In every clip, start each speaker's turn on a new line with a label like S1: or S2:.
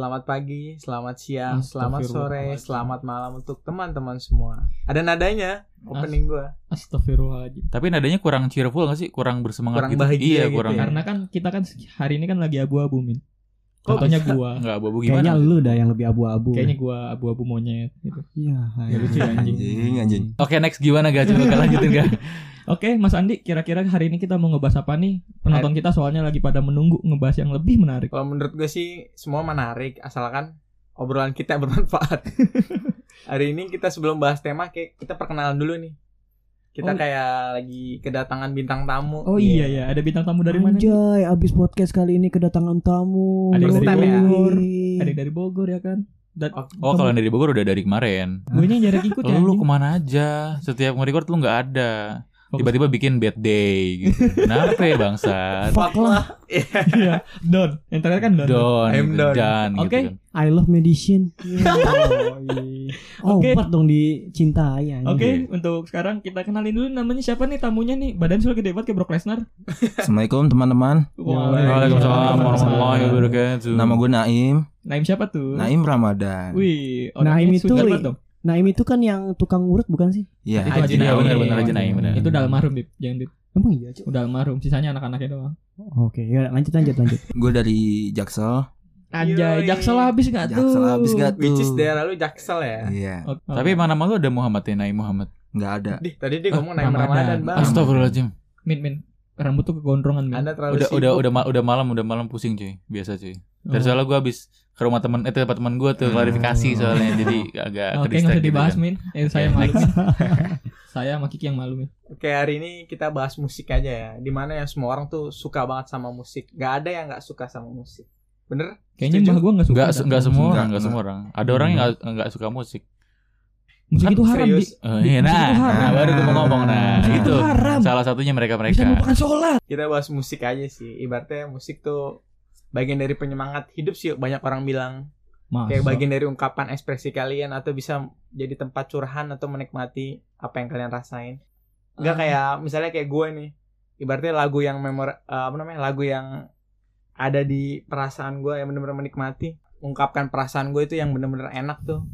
S1: Selamat pagi, selamat siang, selamat sore,
S2: Astagfirullahaladzim.
S1: selamat malam untuk teman-teman semua. Ada nadanya opening gua.
S2: Astagfirullahaladzim.
S3: Tapi nadanya kurang cheerful gak sih? Kurang bersemangat
S1: Kurang
S3: gitu.
S1: bahagia
S3: iya,
S1: gitu
S3: kurang.
S1: ya.
S2: Karena kan kita kan hari ini kan lagi abu-abu min.
S1: Kok
S2: Contohnya
S1: bisa?
S2: gua,
S3: Enggak bobo gimana?
S4: Kayaknya lu dah yang lebih abu-abu.
S2: kayaknya gua abu-abu monyet gitu.
S4: Iya,
S2: Ya lucu ya, anjing.
S5: Anjing, anjing.
S3: Oke, next gimana gak? Coba lanjutin gak?
S2: Oke, Mas Andi, kira-kira hari ini kita mau ngebahas apa nih? Penonton kita soalnya lagi pada menunggu ngebahas yang lebih menarik.
S1: Kalau menurut gue sih semua menarik asalkan obrolan kita bermanfaat. Hari ini kita sebelum bahas tema kayak kita perkenalan dulu nih. Kita
S2: Oh.
S1: kayak lagi kedatangan bintang tamu.
S2: Oh iya ya, ada bintang tamu dari mana? nih?
S4: Anjay, abis podcast kali ini kedatangan tamu.
S2: Ada
S1: dari
S2: yang
S3: ya?
S4: Yoi.
S2: Bogor, Ada yang dari Bogor ya kan? Dan
S1: Oh,
S3: Oh, kalau yang dari Bogor udah dari kemarin.
S2: gue nya jarang ikut ya.
S3: Kalau
S2: anjing.
S3: lu kemana aja? Setiap nge-record lu nggak ada.
S2: Fokus-
S3: Tiba-tiba bikin bad day gitu. Kenapa ya bangsat?
S4: Fuck lah.
S2: Iya, Don. Yang terakhir kan Don.
S3: Don,
S1: I'm
S3: gitu,
S1: done.
S3: done, gitu
S2: Oke.
S3: kan.
S4: I love medicine. Oh,
S2: Oke.
S4: Obat dong dicintai anjing.
S2: Oke,
S3: Iya.
S2: untuk sekarang kita kenalin dulu namanya siapa nih tamunya nih. Badan sudah gede banget kayak Brock Lesnar.
S5: Assalamualaikum teman-teman.
S3: Waalaikumsalam warahmatullahi wabarakatuh.
S5: Nama gue Naim.
S2: Naim siapa tuh?
S5: Naim Ramadan.
S2: Wih, orangnya
S4: Naim itu
S2: sugar
S4: i-
S2: banget dong.
S4: Naim itu kan yang tukang urut bukan sih?
S5: Iya.
S1: Itu Haji Naim,
S3: benar-benar Haji Naim, benar.
S2: Itu udah almarhum, Bib. Jangan Bib.
S4: Emang iya, Cuk?
S2: Udah almarhum, sisanya anak-anaknya doang.
S4: Oke, ya lanjut lanjut lanjut.
S5: Gue dari Jaksel.
S1: Yoi.
S2: Anjay, jaksel habis gak tuh?
S5: Jaksel habis gak tuh?
S1: Which is daerah lu Jaksel ya?
S5: Iya.
S2: Oke.
S3: Tapi emang nama lu ada Muhammad ya, Naim Muhammad.
S5: Nggak ada.
S1: Dih, tadi dia ngomong naik
S2: Ramadan.
S1: Ramadan, Bang.
S3: Astagfirullahaladzim.
S2: Min min rambut tuh kegondrongan min.
S1: Anda terlalu
S3: Udah
S1: sibuk.
S3: udah udah ma- udah malam, udah malam pusing cuy. Biasa cuy.
S2: Oh.
S3: Dari soalnya gue habis ke rumah teman eh tempat teman gue tuh
S5: Hmm.
S3: klarifikasi soalnya jadi agak
S2: Oke, nggak
S3: ke-distract
S2: usah
S3: gitu
S2: dibahas
S3: kan.
S2: min. Eh, saya
S3: Oke,
S2: malu.
S3: next.
S2: Min. saya sama Kiki yang malu min.
S1: Oke hari ini kita bahas musik aja ya Dimana ya semua orang tuh suka banget sama musik Gak ada yang gak suka sama musik Bener?
S2: Kayaknya
S1: Setuju.
S2: mbah gue gak suka.
S3: Enggak
S2: dah.
S3: enggak semua
S5: Enggak,
S3: orang, enggak
S5: enggak.
S3: semua orang. Ada orang yang enggak enggak suka musik.
S2: Musik
S1: Kan
S2: itu gitu, haram
S1: serius.
S2: bi.
S3: Eh,
S2: Musik
S3: iya, nah,
S2: itu haram.
S3: nah, baru gue mau ngomong nah
S2: Musik itu
S5: gitu.
S3: itu
S2: haram.
S3: salah satunya mereka
S2: Bisa
S3: mereka.
S2: melupakan sholat.
S1: Kita bahas musik aja sih Ibaratnya musik tuh bagian dari penyemangat hidup sih Banyak orang bilang Kayak
S2: Masa?
S1: bagian dari ungkapan ekspresi kalian Atau bisa jadi tempat curhan Atau menikmati apa yang kalian rasain
S3: Ah.
S1: Gak kayak misalnya kayak gue nih Ibaratnya lagu yang memori Apa namanya Lagu yang ada di perasaan gue Yang bener-bener menikmati Ungkapkan perasaan gue itu yang bener-bener enak tuh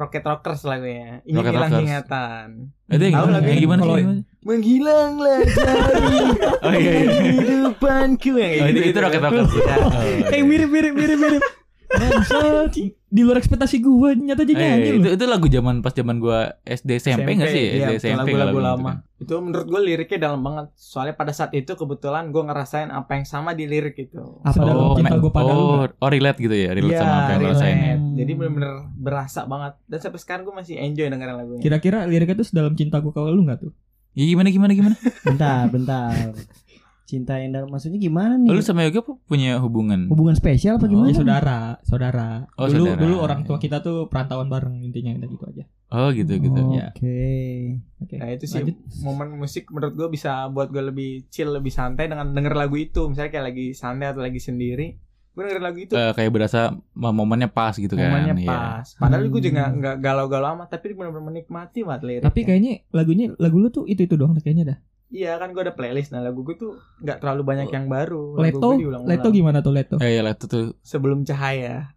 S1: Rocket Rockers lagunya Ini
S3: Rocket
S1: hilang
S3: Rockers.
S1: ingatan
S3: Itu yang
S1: Tahu
S3: gimana?
S1: lagu
S3: Yang
S1: ini
S3: gimana sih?
S2: kalau-
S1: Menghilanglah dari
S3: Oh iya iya.
S1: kehidupanku yang
S3: Oh, itu itu
S1: gitu.
S3: roket roket.
S1: Iya.
S2: Eh mirip mirip mirip mirip. Bangsat. di luar ekspektasi gue nyata jadi nyanyi
S3: Eh,
S2: lu.
S3: itu itu lagu zaman pas zaman gua SD SMP enggak sih?
S1: Iya, betul,
S3: SD SMP
S1: lagu-lagu
S3: kalau gitu
S1: lama.
S3: kan.
S1: Itu menurut gue liriknya dalam banget. Soalnya pada saat itu kebetulan gue ngerasain apa yang sama di lirik itu.
S4: Apa
S2: Padahal
S3: Oh,
S2: cinta
S3: me-
S2: gua pada lu,
S3: oh, oh, relate gitu ya, relate
S1: Iya,
S3: sama apa yang
S1: relate.
S3: ngerasain.
S1: Jadi bener-bener berasa banget. Dan sampai sekarang gue masih enjoy dengerin lagunya.
S2: Kira-kira liriknya tuh dalam cinta gue kalau lu gak tuh?
S3: Iya gimana gimana gimana?
S4: Bentar, bentar. Cinta yang dalam maksudnya gimana nih?
S3: Lu Oh, sama Yoga punya hubungan?
S4: Hubungan spesial apa gimana?
S2: Ya saudara, saudara.
S3: Oh,
S2: dulu
S3: saudara.
S2: dulu orang tua kita tuh perantauan bareng intinya udah gitu aja.
S3: Oh gitu gitu.
S4: Oke.
S2: ya. Oke.
S1: Nah itu sih
S2: lanjut.
S1: momen musik menurut gue bisa buat gue lebih chill, lebih santai dengan denger lagu itu. Misalnya kayak lagi santai atau lagi sendiri, gue dengerin lagu itu.
S3: Eh, kayak berasa mo- momennya pas gitu
S1: Oh.
S3: kan.
S1: momennya
S3: Iya.
S1: pas. Padahal gue juga
S4: Hmm.
S1: nggak galau-galau amat, tapi bener-bener menikmati banget lirik.
S2: Tapi kayaknya lagunya lagu lu tuh itu itu doang deh kayaknya dah.
S1: Iya kan gue ada playlist. Nah lagu gue tuh nggak terlalu banyak yang baru. Lagu
S2: Leto,
S1: gue
S2: Leto gimana tuh Leto? Nah,
S3: Eh, iya lah itu tuh.
S1: Sebelum cahaya.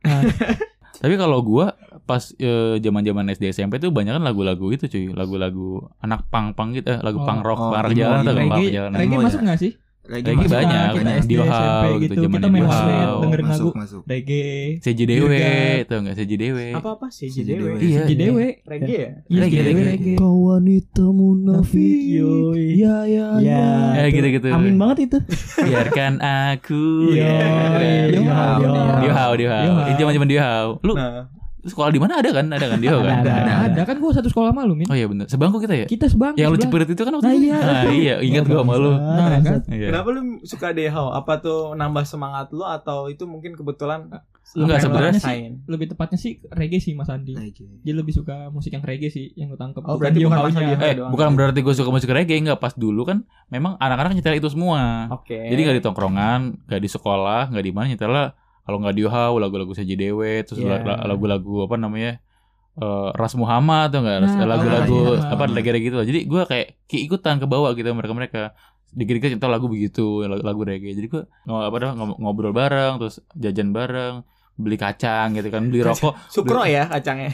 S3: Tapi kalau gua pas eh, zaman-zaman SD SMP tuh banyak kan lagu-lagu gitu cuy, lagu-lagu anak pang-pang gitu, eh lagu
S2: Oh.
S3: punk rock
S5: Oh,
S3: parah
S5: emo,
S3: jalan tuh,
S5: emo.
S3: parah
S2: Reggae,
S3: jalan.
S2: reggae
S5: Emo
S2: masuk
S5: ya?
S2: nggak sih?
S5: Lagi
S3: Lagi
S2: Maksudnya
S3: banyak,
S2: kita
S3: banyak.
S2: SD,
S3: Di Ohau
S2: SMP
S3: gitu,
S2: gitu,
S3: zaman
S2: kita
S3: di
S2: main
S3: Ohau.
S2: sweat, dengerin lagu
S5: Masuk, masuk.
S2: reggae,
S3: CJDW,
S2: Dirgat.
S3: tau enggak CJDW?
S1: Apa apa sih JDW?
S5: Iya.
S3: Iya.
S2: GDW,
S1: Reggae ya?
S2: iya
S3: Reggae,
S2: GDW
S3: reggae.
S2: reggae. Nah,
S4: Kau wanita munafik.
S2: Yoi.
S4: Ya ya.
S2: Ya.
S1: Iya,
S3: Ya gitu-gitu.
S4: Amin banget itu.
S3: Biarkan aku.
S2: Yo,
S3: Iya.
S2: yo,
S4: Ya
S5: Yo.
S3: Di Ohau, di Ohau.
S2: Yo.
S3: Itu zaman-zaman di Ohau. Lu
S1: Nah,
S3: sekolah di mana ada kan? Ada kan di Ohau kan?
S4: Ada, ada.
S2: Nah, ada kan gua satu sekolah malu min.
S3: Oh iya bener. Sebangku kita ya?
S2: Kita sebangku.
S3: Yang lu
S2: sebelah.
S3: cepirit itu kan waktu
S2: Nah,
S3: itu?
S2: iya.
S3: Ah, iya, ingat gua sama lu.
S2: Nah, kan?
S3: Iya.
S1: kenapa lu suka DHO? Apa tuh nambah semangat lu atau itu mungkin kebetulan apa
S3: Enggak
S1: yang lu
S3: sebenarnya
S2: sih.
S1: rasain?
S2: Lebih tepatnya sih reggae sih Mas Andi.
S5: Lagi.
S2: Dia lebih suka musik yang reggae sih yang lu tangkep.
S1: Oh, berarti bukan
S2: Yohaunya.
S1: masa dia.
S3: Eh,
S1: doang.
S3: bukan berarti gue suka musik reggae enggak pas dulu kan memang anak-anak nyetel itu semua.
S1: Oke.
S3: Jadi nggak di tongkrongan, nggak di sekolah, nggak di mana nyetelnya kalau nggak di UHAW lagu-lagu saja dewe, terus
S1: Iya.
S3: la- la- lagu-lagu apa namanya? eh, Ras Muhammad atau enggak
S2: Nah,
S3: lagu-lagu
S2: Ras Muhammad.
S3: apa legere gitu lah. Jadi gua kayak keikutan ke bawah gitu mereka-mereka dikit-dikit gitu. nyetel lagu begitu, lagu, lagu reggae. Jadi gua ngo- apa dah, ngob- ngobrol bareng, terus jajan bareng, beli kacang gitu kan, beli rokok.
S1: Sukro ya kacangnya.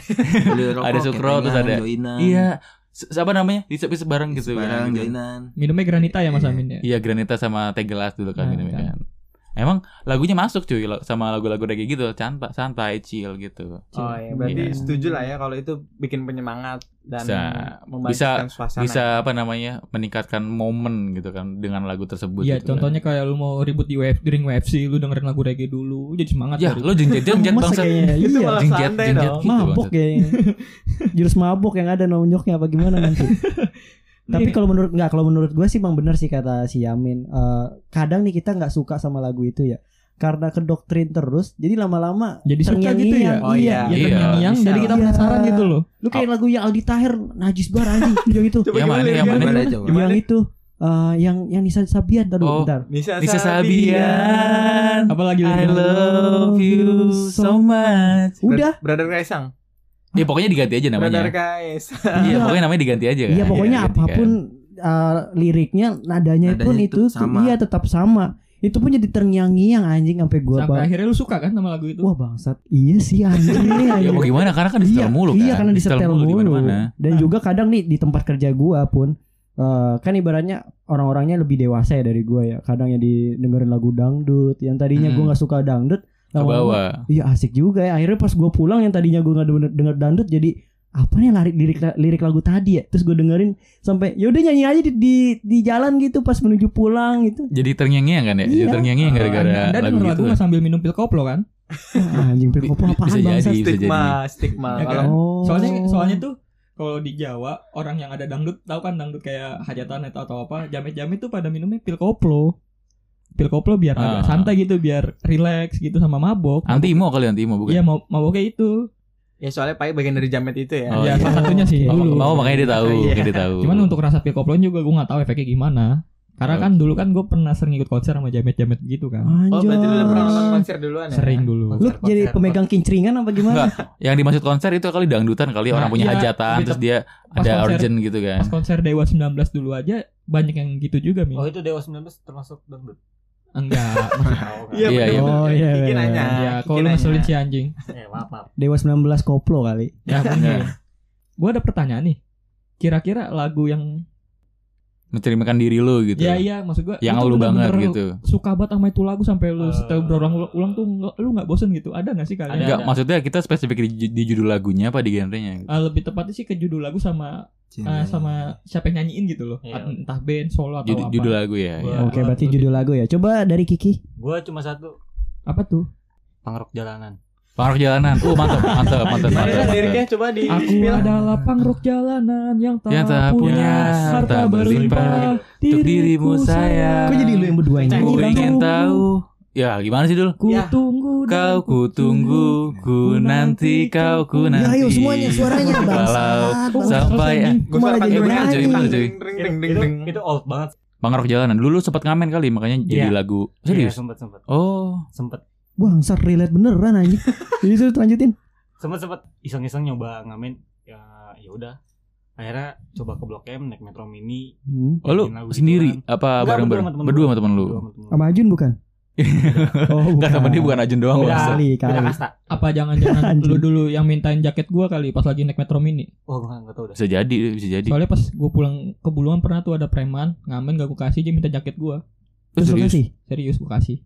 S5: Beli
S3: Ada sukro, terus ada-
S5: joinan.
S3: Iya, se- apa namanya? Di sepi sebarang gitu.
S5: Barang
S3: gitu.
S5: joinan.
S2: Minumnya granita ya Mas Amin ya.
S3: Iya, Granita sama Teh Gelas dulu kan
S2: Nah,
S3: minumnya
S2: kan.
S3: kan. Emang lagunya masuk cuy la- sama lagu-lagu reggae gitu, santai, santai chill gitu.
S1: Oh iya, berarti
S3: Iya.
S1: setuju lah ya kalau itu bikin penyemangat dan
S3: Bisa.
S1: membangkitkan suasana.
S3: Bisa apa namanya? meningkatkan momen gitu kan dengan lagu tersebut
S2: Iya,
S3: gitu kan.
S2: contohnya kayak lu mau ribut di WF, during WFC, lu dengerin lagu reggae dulu, lu jadi semangat
S1: Iya.
S3: Ya,
S2: dari-
S3: lo jengjet jengjet
S4: Masa
S3: bangsa.
S4: kayaknya
S2: Gitu
S1: Itu
S4: iya.
S1: malah
S3: Jengjet
S1: santai
S3: jengjet
S1: dong.
S3: gitu.
S4: mabok
S3: maksud.
S4: kayaknya jurus mabok yang ada nonjoknya apa gimana nanti
S2: Iya.
S4: tapi kalau menurut nggak kalau menurut gue sih emang bener sih kata si Yamin Eh, kadang nih kita nggak suka sama lagu itu ya karena kedoktrin terus jadi lama-lama
S2: jadi suka gitu ya.
S4: terngiang-ngiang.
S1: Oh,
S4: iya.
S1: iya.
S2: Ya,
S3: Iya,
S2: terngiang-ngiang,
S1: bisa.
S2: jadi kita
S4: Iya.
S2: penasaran gitu loh.
S4: lu kayak lagu yang Aldi Tahir najis banget anjing yang itu
S1: Coba
S3: Yang
S1: gimana,
S3: Iya, mana, yang
S1: gimana?
S5: mana? Coba.
S1: Gimana?
S4: yang itu eh, yang yang Nisa Sabian tadi
S3: Oh.
S4: bentar
S1: Nisa,
S3: Nisa Sabian.
S1: Sabian.
S4: ya.
S2: Apalagi
S3: I
S2: lagi
S3: love you so much.
S4: udah
S1: Brother Kaisang.
S3: Ya pokoknya diganti aja
S1: Brother
S3: namanya.
S1: Kaisang.
S3: Iya, pokoknya namanya diganti aja kan.
S4: iya pokoknya
S3: diganti kan.
S4: apapun eh, liriknya nadanya,
S5: Nadanya
S4: pun
S5: itu
S4: itu,
S5: sama.
S4: iya tetap sama itu pun jadi terngiang-ngiang anjing sampai gua
S2: Sampai
S4: bang
S2: akhirnya lu suka kan sama lagu itu?
S4: Wah bangsat, iya sih anjing
S3: Ya mau gimana? Karena kan di setel mulu kan.
S4: Iya karena di setel mulu.
S3: di mana-mana.
S4: Dan juga kadang nih di tempat kerja gua pun eh, kan ibaratnya orang-orangnya lebih dewasa ya dari gua ya. Kadang yang didengerin lagu dangdut, yang tadinya
S3: Hmm.
S4: gua nggak suka dangdut,
S3: Ke
S4: lama-lama,
S3: bawah.
S4: Iya asik juga ya. Akhirnya pas gua pulang yang tadinya gua nggak denger- denger dangdut jadi apa nih lirik, lirik lirik lagu tadi ya terus gue dengerin sampai yaudah nyanyi aja di, di di jalan gitu pas menuju pulang gitu
S3: Jadi terngiang-ngiang kan ya? Jadi
S4: Iya.
S2: Ah,
S3: terngiang-ngiang gara-gara
S2: Anda, anda
S3: lagu
S2: denger
S3: gitu.
S2: lagu nggak sambil minum pil koplo kan?
S4: Wah, Ah, anjing pil koplo
S3: Bi-
S4: apaan
S3: bisa
S4: bangsat?
S3: jadi.
S1: Stigma, stigma.
S2: Ya kan?
S1: Kalau
S4: oh.
S2: Soalnya soalnya tuh kalau di Jawa orang yang ada dangdut tahu kan dangdut kayak hajatan atau atau apa jamet-jamet tuh pada minumnya pil koplo. Pil koplo biar
S3: Ah.
S2: agak santai gitu, biar relax gitu sama mabok.
S3: Antimo kali antimo bukan?
S2: Iya, mau maboknya itu.
S1: ya soalnya Pai bagian dari jamet itu ya.
S3: Oh,
S2: ya,
S3: iya.
S2: salah satunya sih
S3: Mau,
S2: dulu.
S3: mau makanya dia tahu,
S1: Iya.
S3: makanya dia tahu.
S2: Cuman untuk rasa pil koplo juga gue nggak tahu efeknya gimana. Karena kan dulu kan gue pernah sering ikut konser sama jamet-jamet gitu kan.
S4: Anjay.
S1: Oh, berarti lu udah pernah nonton konser duluan ya?
S2: Sering dulu.
S4: Lu
S1: Konser-konser.
S4: jadi pemegang kincringan apa gimana?
S3: Enggak, yang dimaksud konser itu kali dangdutan kali orang
S2: Nah,
S3: punya
S2: iya,
S3: hajatan
S2: tapi
S3: terus
S2: tep-
S3: dia
S2: pas
S3: ada
S2: konser-
S3: urgent gitu kan.
S2: Pas konser Dewa 19 dulu aja banyak yang gitu juga, Mi.
S6: Oh itu Dewa 19 termasuk dangdut.
S2: Enggak.
S1: Iya,
S3: Iya,
S1: bener.
S3: iya.
S4: Oh, iya,
S1: Kiki
S4: iya,
S1: nanya.
S2: ya,
S1: Kiki
S2: kalau lu
S1: nanya.
S2: ngeselin si anjing.
S1: Iya,
S6: Eh maaf maaf.
S4: Dewa 19 koplo kali.
S2: Ya,
S3: Iya.
S2: mungkin. gue ada pertanyaan nih. Kira-kira lagu yang
S3: Mencerminkan diri lu gitu.
S2: ya iya maksud gue
S3: Yang lu banget gitu.
S2: Suka banget sama itu lagu sampai lu
S6: Eh.
S2: setel berulang ulang tuh nggak- lu nggak bosen gitu. Ada nggak sih kalian?
S3: Enggak,
S6: ada.
S3: maksudnya kita spesifik di, di judul lagunya apa di genrenya gitu.
S2: Eh, lebih tepatnya sih ke judul lagu sama eh, sama siapa yang nyanyiin gitu loh.
S6: Hmm. Iya.
S2: Entah band, solo atau
S3: Judul,
S2: apa.
S3: judul lagu ya.
S6: Iya.
S3: ya.
S4: Oke, berarti judul lagu ya. Coba dari Kiki.
S6: Gua cuma satu
S2: Apa tuh?
S6: pangrok jalanan.
S3: Parok jalanan. Uh, mantap, mantap,
S2: Iya,
S3: mantap,
S1: Gimana
S3: mantap.
S1: kan liriknya
S3: mantap.
S1: coba di
S2: Aku adalah pangrok jalanan yang tak,
S3: Yang tak punya harta
S2: harta berlimpah
S3: berlimpah. Untuk dirimu sayang.
S4: Kok jadi lu yang berdua yang
S3: Ku
S4: nyanyi? Bang?
S3: ingin tahu. Ya, gimana sih dul?
S2: Ku
S1: Ya.
S2: tunggu dan
S3: Kau ku tunggu, ku nanti, kau ku nanti.
S4: Ya ayo semuanya suaranya
S3: Walau
S4: bangsat.
S2: Oh,
S3: sampai
S4: bangsat.
S3: ya.
S2: selesai nih.
S1: Gua suara
S4: Malah jadi
S1: panggil
S4: nyanyi.
S1: Ring,
S3: Bener, cuy.
S1: ring,
S6: Itu,
S1: ring, ring,
S6: itu,
S1: ring.
S6: itu old banget.
S3: Pangrok jalanan. Dulu sempat ngamen kali, makanya jadi
S6: Iya.
S3: lagu. Serius?
S6: Iya, sempet sempet
S3: Oh,
S6: sempet
S4: Bangsat relate beneran anjing. Jadi terus lanjutin.
S6: sempet sempet iseng iseng nyoba ngamen ya ya udah. Akhirnya coba ke Blok M naik Metro Mini.
S4: Hmm.
S3: oh lu
S6: Bikin lagu
S3: sendiri Oh. apa
S6: Enggak,
S3: bareng-bareng?
S6: berdua sama temen
S3: Berdua sama temen lu.
S6: Berdua sama temen gua.
S4: Sama Ajun bukan? Oh,
S3: Enggak temen dia bukan Ajun doang.
S4: Oh,
S6: Beda.
S3: Bang.
S4: kali
S6: Beda
S4: kali.
S6: kasta.
S2: Apa jangan-jangan
S4: Anjing.
S2: lu dulu yang mintain jaket gua kali pas lagi naik Metro Mini?
S6: Oh enggak enggak tahu dah.
S3: Bisa jadi, bisa jadi.
S2: Soalnya pas gue pulang ke Bulungan pernah tuh ada preman ngamen gak gue kasih dia minta jaket gue
S4: Terus lu
S3: Serius?
S4: kasih.
S2: serius gue kasih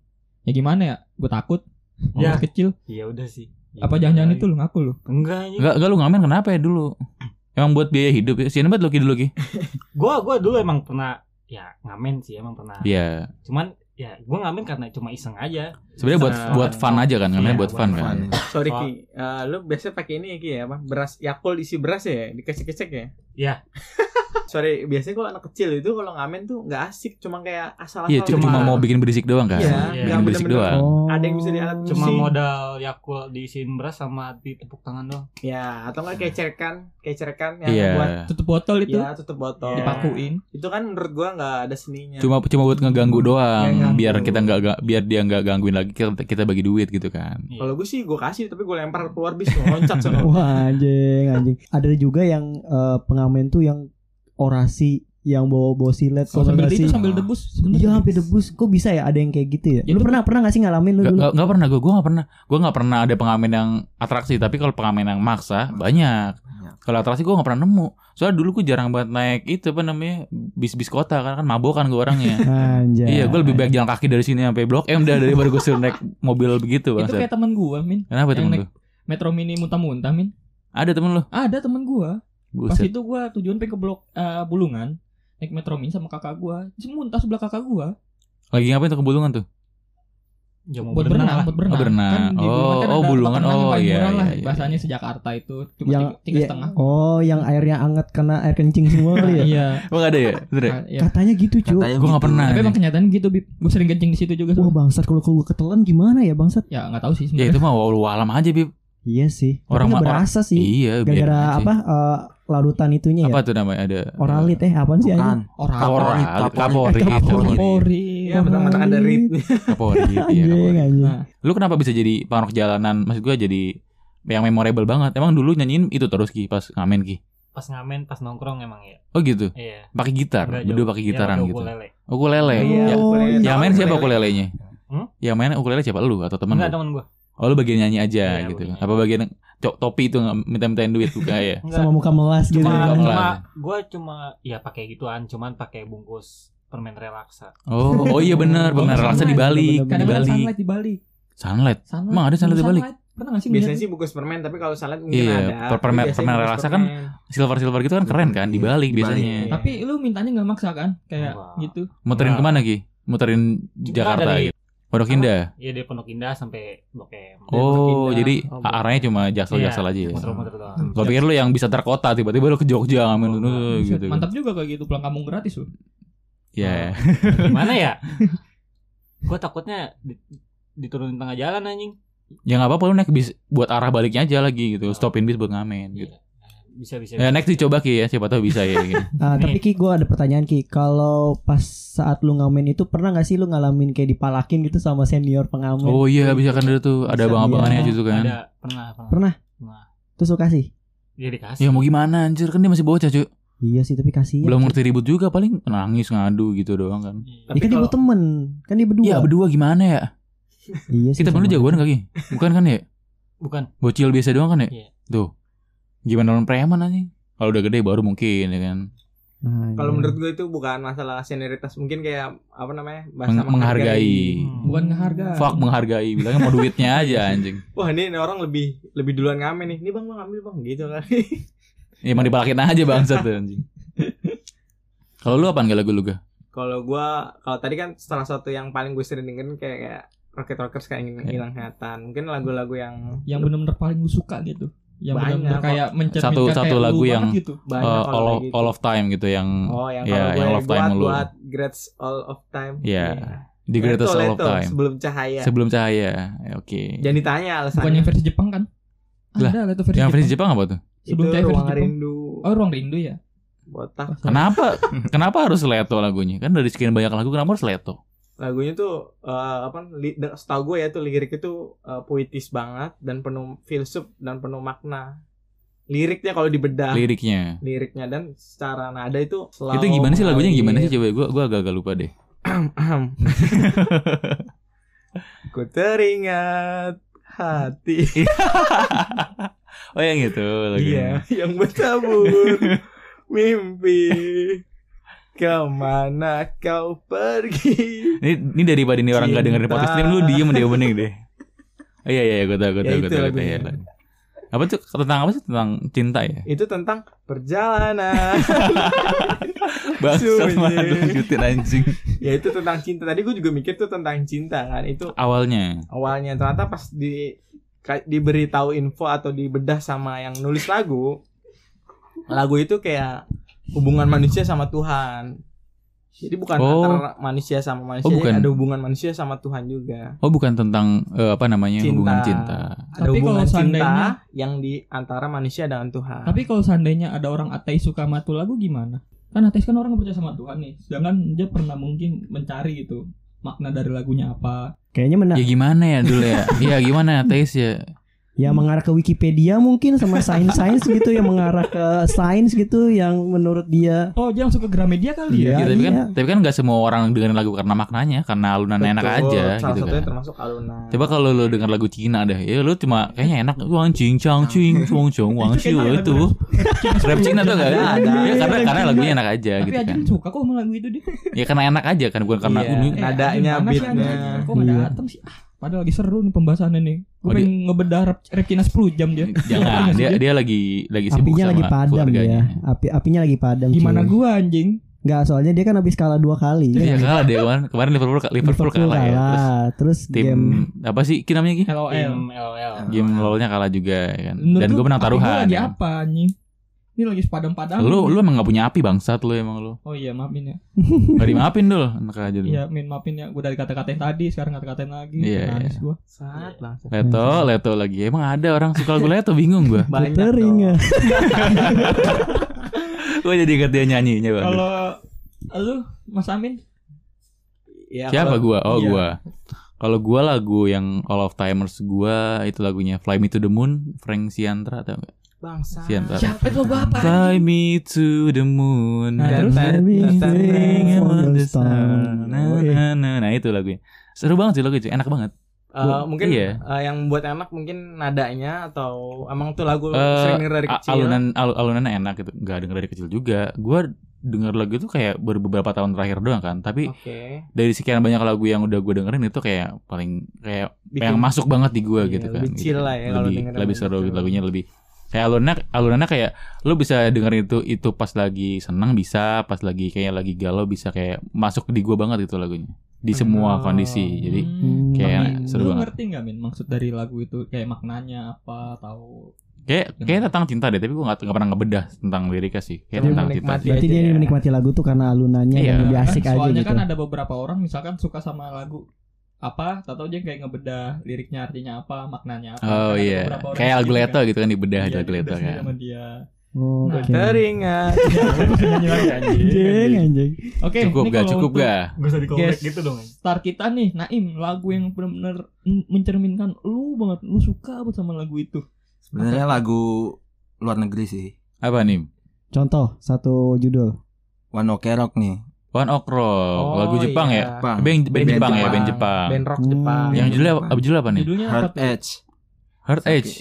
S2: ya gimana ya gue takut ya.
S6: Ya.
S2: kecil
S6: Ya udah sih. Ya
S2: apa
S6: udah
S2: jangan-jangan
S6: lagi.
S2: itu lu ngaku lu
S6: Enggak anjing.
S3: Enggak, enggak lu ngamen kenapa ya dulu? Emang buat biaya hidup ya? Sian banget lu Ki, dulu Ki.
S6: Gua gua dulu emang pernah ya ngamen sih emang pernah.
S3: Iya.
S6: Cuman ya gua ngamen karena cuma iseng aja.
S3: Sebenarnya buat
S1: Nah.
S3: buat fun aja kan, ngamennya
S6: Iya,
S3: buat
S6: buat
S3: fun
S6: fun.
S3: kan.
S1: Sorry
S6: Oh.
S1: Ki, Eh, lu biasanya pakai ini ya Ki ya, apa? Beras Yakul isi beras ya, dikecek-kecek ya?
S6: Iya.
S1: Sorry, biasanya kalau anak kecil itu kalau ngamen tuh nggak asik, cuma kayak asal-asal.
S3: Iya, cu- cuma
S6: Cuma-
S3: mau bikin berisik doang kan.
S1: Iya,
S3: Bikin
S6: yang
S3: berisik
S1: bener-bener.
S3: doang.
S4: Oh.
S1: Ada yang bisa dialat
S6: Cuma
S1: Pusing.
S6: modal Yakul diisiin beras sama ditepuk tangan doang.
S1: Ya, atau nggak kecerkan, kecerkan yang
S3: Iya.
S1: buat
S2: tutup botol itu
S1: ya tutup botol.
S6: Iya.
S2: dipakuin
S1: Itu kan menurut gua nggak ada seninya.
S3: Cuma cuma buat ngeganggu doang,
S1: Iya, Ya. ngeganggu.
S3: biar kita nggak nggak- biar dia nggak gangguin lagi kita, kita bagi duit gitu kan.
S6: Iya.
S1: kalau gue sih gue kasih tapi gue lempar keluar bis gua loncat sono.
S4: Wah anjing anjing. Ada juga yang eh, pengamen tuh yang orasi yang bawa-bawa silet
S3: Oh,
S2: Kalau sambil
S4: nggak
S2: itu
S4: sih?
S2: sambil debus. sebentar.
S4: Iya sampai debus. Kok bisa ya ada yang kayak gitu ya?
S2: Ya,
S4: lu
S2: betul.
S4: pernah pernah nggak sih ngalamin lu
S3: Gak,
S4: dulu?
S3: gak- gak pernah gue, gue gak pernah Gue gak pernah ada pengamen yang atraksi Tapi kalau pengamen yang maksa, banyak Kalau atraksi gue gak pernah nemu Soalnya dulu gue jarang banget naik itu apa namanya Bis-bis kota, karena kan mabok kan gue orangnya
S4: Anjay.
S3: Iya, gue lebih baik jalan kaki dari sini sampai Blok M dah daripada gue suruh naik mobil begitu,
S2: Itu
S3: Bang.
S2: kayak teman gua, Min.
S3: Kenapa
S2: yang
S3: temen
S2: naik-
S3: lu?
S2: Metro Mini muntah-muntah, Min.
S3: Ada temen lu?
S2: Ada teman gua. Pas
S3: Buset.
S2: itu gua tujuan pengen ke Blok eh, Bulungan, naik Metro Mini sama kakak gua. Terus muntah sebelah kakak gua.
S3: Lagi ngapain tuh kebulungan tuh?
S6: Ya mau
S2: buat berenang, buat berenang.
S3: Oh, berenang.
S2: Kan di Bulungan kan
S3: Oh, oh,
S2: ada tempat
S3: Bulungan.
S2: renang yang
S3: Oh,
S2: paling
S3: iya,
S2: murah lah
S3: iya, iya.
S2: bahasanya se Jakarta itu cuma
S4: Yang
S2: tiga, tiga
S4: iya.
S2: setengah.
S4: Oh, yang airnya anget karena air kencing semua
S2: Nah,
S4: kali ya?
S2: Iya.
S3: Emang ada ya? Bener ya?
S2: Nah, iya.
S4: Katanya gitu, cuy.
S5: Katanya
S3: Gua nggak
S5: gitu.
S3: pernah.
S2: Tapi emang kenyataan gitu, Bib. Gue sering kencing di situ juga.
S3: gitu.
S4: Wah,
S2: soalnya.
S4: bangsat kalau kalau gua ketelan gimana ya, bangsat?
S2: Ya nggak tahu sih
S3: Ya
S2: sebenarnya.
S3: Oh. itu mah walau alam aja, Bib.
S4: Iya sih.
S3: Orang
S4: Tapi nggak
S3: ma- orang-
S4: berasa sih.
S3: Iya, biarin
S4: Gara-gara
S3: aja.
S4: apa eh, larutan itunya
S3: Apa
S4: ya?
S3: tuh namanya? Ada
S4: Oralit eh apaan sih
S5: Bukan.
S4: anjing?
S2: Orang. gitu.
S3: Kapori, kapori,
S5: Kaporit,
S3: kapori,
S5: kaporit.
S2: Kapori.
S1: Iya, betul-betul ada
S4: Oralit.
S1: rit.
S3: kapori. iya,
S4: Anjing,
S3: kapori.
S4: anjing.
S2: Nah,
S3: Lu kenapa bisa jadi pangrok jalanan? Maksud gue jadi yang memorable banget. Emang dulu nyanyiin itu terus Ki pas ngamen Ki.
S6: Pas ngamen, pas nongkrong emang ya.
S3: Oh gitu.
S6: Iya.
S3: Pakai gitar,
S6: Nggak
S3: berdua
S6: jauh.
S3: pakai
S6: Iya,
S3: gitaran
S6: pakai
S3: gitu.
S6: ukulele.
S3: Oh, ukulele.
S1: Iya,
S3: Ya,
S4: Oh,
S1: ukulele.
S4: iya.
S3: yang main siapa ukulelenya?
S6: Hmm?
S3: Yang main ukulele siapa lu atau temen
S6: Enggak
S3: lu?
S6: teman gua.
S3: Oh lu bagian nyanyi aja
S6: Iya,
S3: gitu.
S6: bagian
S3: Apa bagian cok topi itu nggak minta-mintain duit buka ya?
S6: Enggak.
S4: Sama muka melas gitu.
S6: cuma,
S3: Nggak
S6: cuma
S3: kelar.
S6: gua cuma ya pakai gituan, cuman pakai bungkus permen relaksa.
S3: Oh, oh iya bener,
S2: Oh,
S3: bener rasa
S2: sunlight.
S3: dibalik,
S2: kadang-kadang
S3: dibalik.
S2: sunlight di Bali.
S3: Sunlight.
S2: Sunlight.
S3: Emang ada sunlight di Bali?
S2: Pernah nggak sih
S1: Biasanya
S2: ngeliat?
S1: sih bungkus permen, tapi kalau salad mungkin
S3: Iya,
S1: ada.
S3: per- permen-
S1: Tapi biasanya
S3: permen
S1: bungkus
S3: relaksa kan
S1: permen.
S3: Silver-silver gitu kan keren kan dibalik
S5: Dibalik.
S3: biasanya.
S1: Iya.
S2: Tapi lu mintanya nggak maksa kan? Kayak
S6: Wah.
S2: gitu.
S3: Muterin
S6: Nah.
S3: kemana Ki? Muterin
S6: Cuma
S3: Jakarta gitu.
S6: dari-
S3: Pondok Indah.
S6: Iya dari Pondok Indah sampai Blok
S1: Pondok
S6: M.
S1: Indah.
S3: Oh, jadi
S1: Oh,
S3: arahnya cuma jaksel-jaksel
S6: Iya,
S3: aja ya.
S6: Muter-muter doang.
S3: Gua pikir lu yang bisa terkota tiba-tiba lu ke Jogja ngamen
S6: Oh,
S3: dulu gitu.
S2: Mantap juga kayak gitu pulang kampung gratis loh.
S3: Ya.
S6: Gimana ya? Gua takutnya di- diturunin tengah jalan anjing.
S3: Ya nggak apa-apa lu naik bis buat arah baliknya aja lagi gitu. Stopin bis buat ngamen gitu.
S6: Bisa bisa.
S3: Ya
S6: bisa.
S3: next dicoba Ki ya, siapa tahu bisa ya. Ki.
S4: Ah,
S6: Nih.
S4: tapi Ki gue ada pertanyaan Ki Kalau pas saat lu ngamen itu Pernah gak sih lu ngalamin kayak dipalakin gitu sama senior pengamen
S3: Oh iya bisa kan dulu tuh ada
S4: Bisa,
S3: abang-abangannya
S4: iya.
S3: gitu kan.
S6: Ada pernah pernah.
S4: Pernah? Terus lu kasih?
S6: Dia dikasih.
S3: Ya mau gimana anjir kan dia masih bocah cuy
S4: Iya sih tapi kasih
S3: Belum ngerti ribut juga paling nangis ngadu gitu doang kan
S4: Ya kan
S6: Iya.
S4: dia
S1: Tapi
S4: buat temen Kan dia berdua
S3: Iya berdua gimana ya
S4: Iya sih
S3: Kita
S4: sama.
S3: dulu jagoan kaki Bukan kan ya
S6: Bukan.
S3: Bocil biasa doang kan ya
S6: Iya.
S3: Tuh Gimana orang preman aja Kalau udah gede baru mungkin ya kan
S4: Nah,
S1: Kalau
S3: Hmm.
S4: iya.
S1: menurut gue itu bukan masalah senioritas, mungkin kayak apa namanya? bahasa
S3: Meng- Menghargai
S6: Hmm.
S2: Bukan ngehargai.
S3: Fuck menghargai Bilangnya mau duitnya aja anjing
S1: Wah, ini, ini orang lebih lebih duluan ngamen nih. Ini Bang, Bang ambil Bang gitu kan.
S3: Ya emang dipalakin aja bangsat tuh anjing Kalau lu apaan gak lagu lu ga?
S1: kalau gua kalau tadi kan salah satu yang paling gue sering dengerin kayak, kayak Rocket Rockers kayak ingin
S3: Iya.
S1: hilang ingatan mungkin lagu-lagu yang
S2: yang benar-benar paling lu suka gitu yang
S1: Banyak,
S2: benar-benar
S1: kok.
S2: kayak mencerminkan
S3: Satu-
S2: kayak
S3: satu
S2: lu
S3: lagu
S2: banget
S3: yang-
S2: gitu.
S1: banyak
S3: Eh,
S1: kalau
S3: all, of,
S1: kayak gitu.
S3: all of time gitu yang
S1: oh yang kalau gue
S3: ya, yang All of Time
S1: buat
S3: lu.
S1: buat Greats All of Time
S3: Iya.
S1: Iya.
S3: The Greatest
S1: Leto,
S3: All of
S1: Leto,
S3: Time
S1: sebelum iya. cahaya
S3: Sebelum cahaya Ya, Oke
S1: jangan ditanya
S2: bukan
S1: alasannya
S2: yang versi Jepang kan
S3: Lah,
S2: ada lah itu versi
S3: Yang versi
S2: Jepang
S3: Jepang apa tuh?
S1: itu
S2: sebelum cahaya versi
S1: ruang
S2: Jepang.
S1: rindu
S2: oh ruang rindu ya
S1: botak
S3: Kenapa kenapa harus Leto lagunya? Kan dari sekian banyak lagu kenapa harus Leto?
S1: lagunya tuh eh, apa li, de- setahu gue ya tuh lirik itu eh, puitis banget dan penuh filsuf dan penuh makna liriknya kalau dibedah
S3: Liriknya.
S1: liriknya dan secara nada itu selalu
S3: Itu gimana sih lagunya gimana
S1: mengalir.
S3: sih coba gua gua agak-agak lupa deh.
S1: Ahem. Ku teringat hati
S3: oh yang itu lagunya.
S1: dia yang bertabur mimpi kemana kau pergi
S3: Ini, ini daripada ini orang gak dengerin
S1: Cinta.
S3: podcast ini lu diem deh bening deh. Oh, iya iya gua tahu gua
S1: Ya,
S3: tahu
S1: itu
S3: gua tahu, gua tahu.
S1: lagunya.
S3: Iya, lagu. Apa tuh tentang apa sih tentang cinta ya?
S1: itu tentang perjalanan
S3: Bangsat
S1: Sunyi.
S3: banget lanjutin anjing.
S1: ya itu tentang cinta tadi gue juga mikir tuh tentang cinta kan itu
S3: Awalnya.
S1: awalnya ternyata pas di ka- diberitahu info atau dibedah sama yang nulis lagu lagu itu kayak hubungan manusia sama Tuhan jadi bukan
S3: Oh.
S1: antara manusia sama manusia
S3: Oh,
S1: jadi
S3: bukan.
S1: ada hubungan manusia sama Tuhan juga
S3: Oh bukan tentang eh, apa namanya
S1: Cinta.
S3: hubungan cinta.
S1: ada
S2: Tapi
S1: hubungan
S2: kalau seandainya-
S1: cinta yang di antara manusia dengan Tuhan
S2: tapi kalau seandainya ada orang ateis suka sama tuh lagu gimana kan ateis kan orang nggak percaya sama Tuhan nih sedangkan dia pernah mungkin mencari gitu makna dari lagunya apa
S1: Nah.
S4: Kayaknya mena
S3: Ya gimana ya dulu ya? Iya gimana Teis ya?
S4: Ya mengarah ke Wikipedia mungkin sama sains-sains gitu yang mengarah ke sains gitu yang menurut dia
S2: Oh, dia langsung ke Gramedia kali
S4: Iya.
S2: ya?
S3: Gitu, tapi kan
S4: iya.
S3: tapi kan nggak semua orang dengerin lagu karena maknanya karena alunan enak
S1: Betul,
S3: aja
S1: Salah
S3: gitu
S1: satunya
S3: kan
S1: termasuk alunan.
S3: coba kalau lu denger lagu Cina deh ya lu cuma kayaknya enak wang cing cang cing cong cong wang
S2: Itu
S3: xiu
S2: kayaknya
S3: itu
S2: lagu-
S3: rap Cina tuh gak
S1: Ada, ada.
S3: ya karena
S2: Rap
S3: karena
S2: Cina.
S3: lagunya enak aja
S2: Tapi
S3: gitu kan
S2: Ajun suka kok sama lagu itu dia.
S3: ya karena enak aja kan bukan karena
S1: Iya.
S3: ini
S1: Eh, Nadanya,
S2: Ajun, mana sih
S1: beatnya.
S2: Ajun? Kok nggak
S4: Iya.
S2: datang sih? Ah, padahal lagi seru nih pembahasannya nih. Gue
S3: Oh,
S2: pengen ngebedah rap, rap Cina 10 jam dia.
S3: jangan dia dia lagi lagi sibuk
S4: apinya
S3: sama
S4: lagi padam
S3: keluarganya.
S4: ya. Api apinya lagi padam.
S2: Gimana
S4: cuy.
S2: gua anjing?
S4: Nggak, soalnya dia kan habis kalah dua kali.
S3: Iya kalah dia kemarin kemarin Liverpool Liverpool kalah ya. Terus
S4: Terus,
S3: tim
S4: game
S3: apa sih Ki namanya Ki?
S2: LOL.
S6: Tim LOL.
S3: Game
S5: Ah,
S3: LOL-nya kalah juga ya kan. Iya. Dan
S2: Menurut
S3: gue
S2: lu
S3: menang
S2: api gua
S3: taruhan.
S2: Lagi
S3: ya kan.
S2: apa anjing? Ini lagi padam-padam.
S3: Lu lu emang gak punya api bangsat lu emang lu.
S2: Oh iya, maafin ya.
S3: Gak dimaafin dul Enak aja dul
S2: Iya, min maafin ya. Gua dari kata-katain tadi, sekarang kata-katain lagi.
S3: Hmm. Iya,
S2: Nangis gua. Iya.
S1: Saat lah.
S3: Leto Leto lagi Emang ada orang suka lagu Leto bingung gue
S1: Banyak
S4: tering ya.
S1: dong.
S3: Gue jadi inget dia nyanyinya bang
S2: Kalau lu Mas Amin
S1: Ya,
S3: Siapa
S1: kalau-
S3: gue? Oh
S2: Iya.
S3: gue Kalau gue lagu yang All of Timers gue Itu lagunya Fly Me to the Moon Frank Sinatra tau gak?
S1: Bangsa.
S3: Siapa?
S2: Siapa itu bapak?
S3: Fly me to the moon
S2: Nah, terus?
S3: Sing
S4: on
S3: on the
S4: the
S3: sun.
S4: sun.
S3: Na, na, na. Nah itu lagunya Seru banget sih lagu itu Enak banget
S1: Eh, mungkin
S3: Iya.
S1: eh, yang membuat enak mungkin nadanya atau emang tuh lagu
S3: Eh,
S1: sering denger dari
S3: A-
S1: kecil.
S3: alunan al- alunannya enak gitu nggak denger dari kecil juga gue denger lagu itu kayak baru beberapa tahun terakhir doang kan
S2: Oh.
S3: tapi
S1: Oke.
S3: dari sekian banyak lagu yang udah gue dengerin itu kayak paling kayak yang
S1: Bikin-
S3: masuk banget di gue
S1: Iya,
S3: gitu kan
S1: lebih chill
S3: Gitu.
S1: lah ya kalau
S3: lebih
S1: dengerin
S3: lebih
S1: lagu
S3: seru
S1: chill.
S3: gitu, lagunya lebih kayak alunannya alunannya kayak lu bisa dengerin itu itu pas lagi senang bisa pas lagi kayak lagi galau bisa kayak masuk di gue banget itu lagunya di
S1: Oh.
S3: semua kondisi jadi
S2: Hmm.
S3: kayak
S2: Tapi
S3: iya, seru
S2: lu
S3: banget.
S2: ngerti nggak min maksud dari lagu itu kayak maknanya apa atau
S3: kayak kayak tentang cinta deh tapi gue nggak nggak pernah ngebedah tentang liriknya sih kayak
S1: Lebih
S3: tentang cinta
S1: menikmati
S4: Berarti
S1: aja
S4: dia
S1: ya.
S4: menikmati lagu tuh karena alunannya
S3: Iya.
S4: yang lebih
S2: Kan
S4: asik aja
S2: soalnya
S4: gitu.
S2: kan ada beberapa orang misalkan suka sama lagu apa atau dia kayak ngebedah liriknya artinya apa maknanya apa
S3: Oh
S2: Kan ada
S3: iya,
S2: beberapa orang
S3: kayak
S2: yang
S3: lagu
S2: gitu
S3: Leto
S2: kan.
S3: gitu kan dibedah
S2: Iya,
S3: aja lagu Leto
S2: dibedah sendiri
S3: kan.
S2: sama dia. Iya,
S4: Oh,
S2: Nah,
S4: oke.
S1: Teringat.
S2: Nyanyi lagi, anjing.
S4: Anjing, anjing.
S2: Oke,
S3: Cukup
S2: ini
S3: gak?
S2: kalau
S3: Cukup
S2: untuk
S3: gak?
S6: Gue usah dikorek
S2: Yes.
S6: gitu dong.
S2: Star kita nih, Naim, lagu yang benar-benar men- mencerminkan lu banget, lu suka banget sama lagu itu.
S5: Sebenarnya lagu luar negeri sih.
S3: Apa nih?
S4: Contoh satu judul.
S5: One Ok Rock nih.
S3: One Ok Rock,
S1: Oh,
S3: lagu Jepang
S1: iya.
S3: ya.
S5: Bang.
S3: Band, band
S5: Band
S3: Jepang, ya,
S5: Jepang.
S3: band Jepang.
S1: Band rock
S4: Hmm.
S1: Jepang.
S3: yang judulnya apa,
S5: Jepang.
S3: judulnya apa nih?
S2: Judulnya apa
S5: Hard
S2: tuh?
S5: Edge.
S3: Heart
S5: Sakit.
S3: Edge,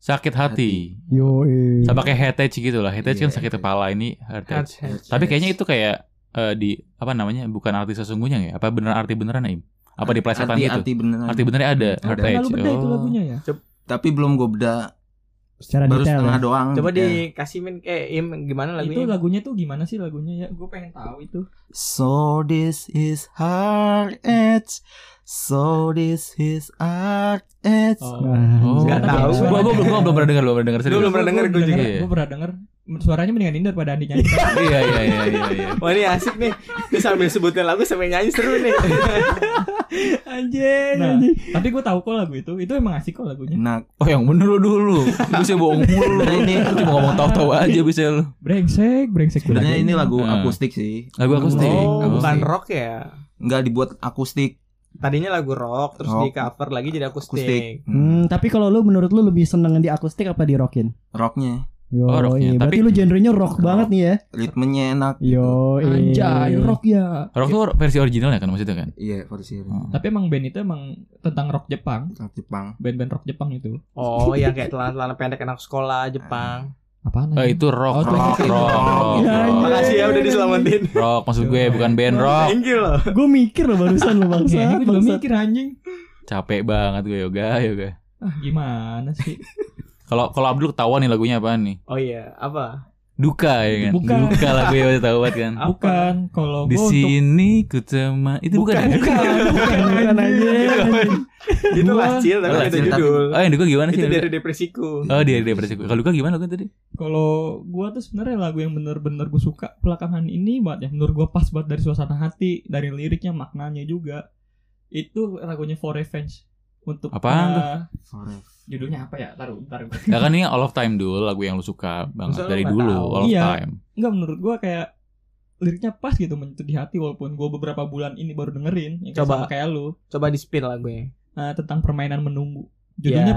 S3: sakit hati.
S4: Yo. eh.
S3: Sama kayak Heart Edge gitu lah. Heart Edge kan
S5: Iya,
S3: sakit
S5: Heart Edge.
S3: kepala ini Heart
S1: Heart
S3: Edge.
S1: Heart.
S3: Tapi kayaknya itu kayak eh, di apa namanya? Bukan arti sesungguhnya ya? Apa beneran arti beneran Naim? Apa di plesetan
S5: Arti-
S3: gitu?
S5: Arti beneran.
S3: Arti benernya ada
S5: Ada.
S2: Oh,
S3: Heart
S2: pernah
S3: Edge.
S2: lu bedah itu
S3: Oh.
S2: lagunya ya?
S5: Tapi belum gue beda
S4: Secara
S5: baru
S4: detail.
S5: setengah
S4: ya.
S5: doang.
S1: Coba
S5: gitu.
S1: dikasih min eh im gimana
S2: Itu
S1: lagunya?
S2: lagunya tuh gimana sih lagunya ya? Gue pengen tahu itu.
S5: So this is hard edge. So this is hard edge.
S4: Nah,
S3: Oh,
S1: Nggak tahu.
S3: Gua gua belum gua belum pernah dengar, belum pernah dengar
S1: Lu
S3: serius.
S1: belum pernah denger gue juga.
S3: juga.
S2: Gue pernah denger. Suaranya mendingan Indar pada Andi nyanyi.
S3: Iya iya iya iya, iya.
S1: Wah ini asik nih. Dia sambil sebutin lagu sambil nyanyi seru
S3: Iya,
S1: nih. Oh,
S4: Anjing,
S2: Nah,
S4: anjing.
S2: tapi gue tahu kok lagu itu. Itu emang asik kok lagunya.
S5: Nah,
S3: Oh yang bener lu dulu Lu sih bohong mulu lu Ini lu cuma ngomong tahu-tahu aja bisa lu
S2: Brengsek, brengsek.
S5: sebenarnya ini lagu
S3: Ah.
S5: akustik sih.
S3: Lagu akustik.
S1: oh,
S5: Akustik.
S1: bukan rock ya.
S5: Nggak dibuat akustik,
S1: Tadinya lagu rock terus
S5: Rock.
S1: di cover lagi jadi akustik.
S5: akustik. Hmm,
S4: Hmm, tapi kalau lu menurut lu lebih seneng di akustik apa di rockin?
S5: Rocknya,
S4: Yo, iya,
S3: Oh, rocknya.
S4: berarti
S3: Tapi-
S4: lu genrenya rock
S5: Rock.
S4: banget nih ya.
S5: ritmenya enak. gitu.
S4: Yo, iya.
S2: Anjay, rock ya.
S3: Rock tuh versi originalnya kan maksudnya kan
S5: Iya, versi
S2: Tapi emang band itu emang tentang rock Jepang.
S5: rock Jepang.
S2: Band-band rock Jepang itu.
S1: Oh, yang kayak celana-celana pendek anak sekolah Jepang.
S2: Apaan?
S3: Eh,
S2: anjing?
S3: Itu
S2: Oh,
S3: rock
S2: itu
S3: Rock Rock rock,
S5: rock.
S4: Iya,
S3: rock.
S4: iya.
S1: Makasih ya udah diselamatin.
S3: Rock maksud gue bukan band rock
S1: Thank you loh.
S4: Gue mikir loh barusan lu
S2: Ya,
S4: bangsa.
S2: gue juga mikir anjing.
S3: Capek banget gue yoga yoga
S2: Ah, gimana sih?
S3: Kalau kalau Abdul ketahuan nih lagunya apaan nih
S1: Oh iya, apa?
S3: Duka ya kan
S2: Bukan.
S3: Duka lagu ya udah tahu banget kan
S1: Apa?
S2: Bukan kalau
S3: Di
S2: gue untuk
S3: sini ku tema Itu bukan, ya?
S2: bukan, bukan,
S4: Bukan
S2: anjing.
S1: Gitu lah
S2: Gua-
S1: chill tapi
S3: Lah,
S1: itu
S5: chill, tapi-
S1: judul.
S3: Oh yang Duka gimana sih
S1: Itu dari depresiku.
S3: Oh dia dia versi Kalau Duka gimana lagu tadi
S2: Kalau gua tuh sebenarnya lagu yang bener-bener gue suka belakangan ini banget ya. Menurut gua pas banget dari suasana hati, dari liriknya, maknanya juga. Itu lagunya For Revenge untuk
S3: Apaan
S2: eh,
S3: tuh?
S2: judulnya apa ya? Taruh, bentar.
S3: Ya kan ini All of Time dulu Lagu yang lu suka banget
S1: Masa lu
S3: Dari
S1: nggak
S3: dulu
S1: tahu?
S3: All of
S2: Iya.
S3: Time
S2: Enggak menurut gua kayak liriknya pas gitu menyentuh di hati walaupun gua beberapa bulan ini baru dengerin yang kayak
S1: Coba.
S2: sama kayak lu
S1: Coba di spin lagunya.
S2: eh, tentang permainan menunggu. Judulnya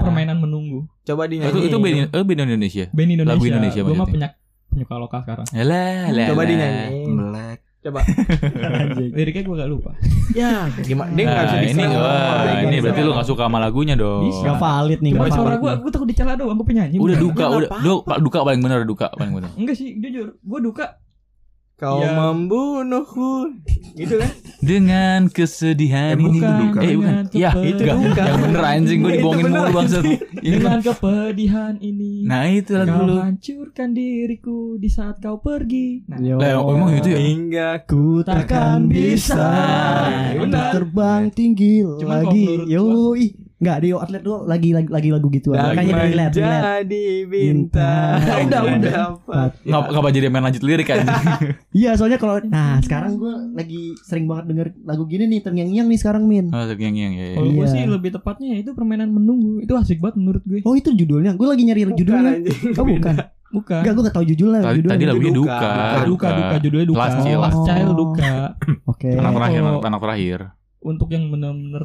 S1: Ya.
S3: Iya.
S2: Permainan Menunggu.
S1: Coba
S3: Oh,
S1: dinyanyiin.
S3: itu itu band, eh, band Indonesia.
S2: Band Indonesia.
S3: Lagu Indonesia
S2: Gue mah
S3: maksudnya.
S2: penyak penyuka lokal sekarang.
S3: Yalah, lah. Hmm.
S1: Coba
S3: lah.
S1: dinyanyiin.
S5: Black.
S1: Coba.
S2: Liriknya gue gak lupa.
S1: ya, gimana? Dia nggak bisa
S3: Nah, ini
S1: di-sing.
S3: wah,
S1: Oh,
S3: ini
S1: iya,
S3: berarti
S1: bisa.
S3: lu gak suka sama lagunya dong.
S2: Bisa.
S4: Gak valid nih,
S2: Cuma
S4: gak
S2: suara
S4: valid.
S2: gue,
S4: nih.
S2: gue takut dicela doang. Gue penyanyi.
S3: Udah
S2: bukan.
S3: duka,
S1: Nggak
S3: udah
S1: apa-apa.
S3: duka, duka paling benar duka paling benar.
S2: Enggak sih, jujur. Gue duka.
S1: Kau
S2: Ya.
S1: membunuhku. Gitu kan?
S3: Dengan kesedihan
S5: Eh, bukan,
S3: ini.
S5: bukan.
S3: Eh, bukan.
S2: Dengan
S3: Ya,
S2: kepedulian.
S3: itu duka. Yang bener anjing gue
S1: Itu
S3: dibohongin
S1: bener,
S3: mulu bangsat. Iya, kan?
S2: Dengan kepedihan ini.
S3: Nah, itu lagu
S2: Kau
S3: lu.
S2: hancurkan diriku di saat kau pergi. Nah,
S4: Yo.
S3: Lah, emang itu ya?
S2: Iya.
S1: Hingga
S4: Ku takkan bisa
S2: Benar.
S4: untuk terbang tinggi
S2: Cuman kalau
S4: lagi.
S2: menurut
S4: Yoi, nggak di atlet dulu lagi lagi lagi lagu gitu.
S1: dan
S4: Makanya relate, relate.
S1: menjadi bintang.
S4: Bintang.
S1: Udah,
S4: Udah,
S1: udah. apa?
S3: Ngapa ngapa jadi main lanjut lirik anjing?
S4: Iya, soalnya kalau nah sekarang gue lagi sering banget denger lagu gini nih terngiang-ngiang nih sekarang min.
S3: Oh, yang yang ya.
S2: Kalau gue
S4: Iya.
S2: sih lebih tepatnya ya itu permainan menunggu. Itu asik banget menurut gue.
S4: Oh itu judulnya, gue lagi nyari
S1: Bukan,
S4: judulnya.
S1: anjing.
S4: Oh bukan,
S2: Bukan.
S4: enggak gue gak tahu judulnya.
S3: Tadi
S4: judulnya.
S3: tadi lagunya
S1: Duka.
S3: duka.
S2: Duka, duka, duka, judulnya duka.
S3: Last
S4: Child.
S2: Last Child
S4: Oh.
S2: duka.
S4: Oke.
S3: Anak terakhir,
S2: Kalau-
S3: anak anak terakhir.
S2: Untuk yang benar-benar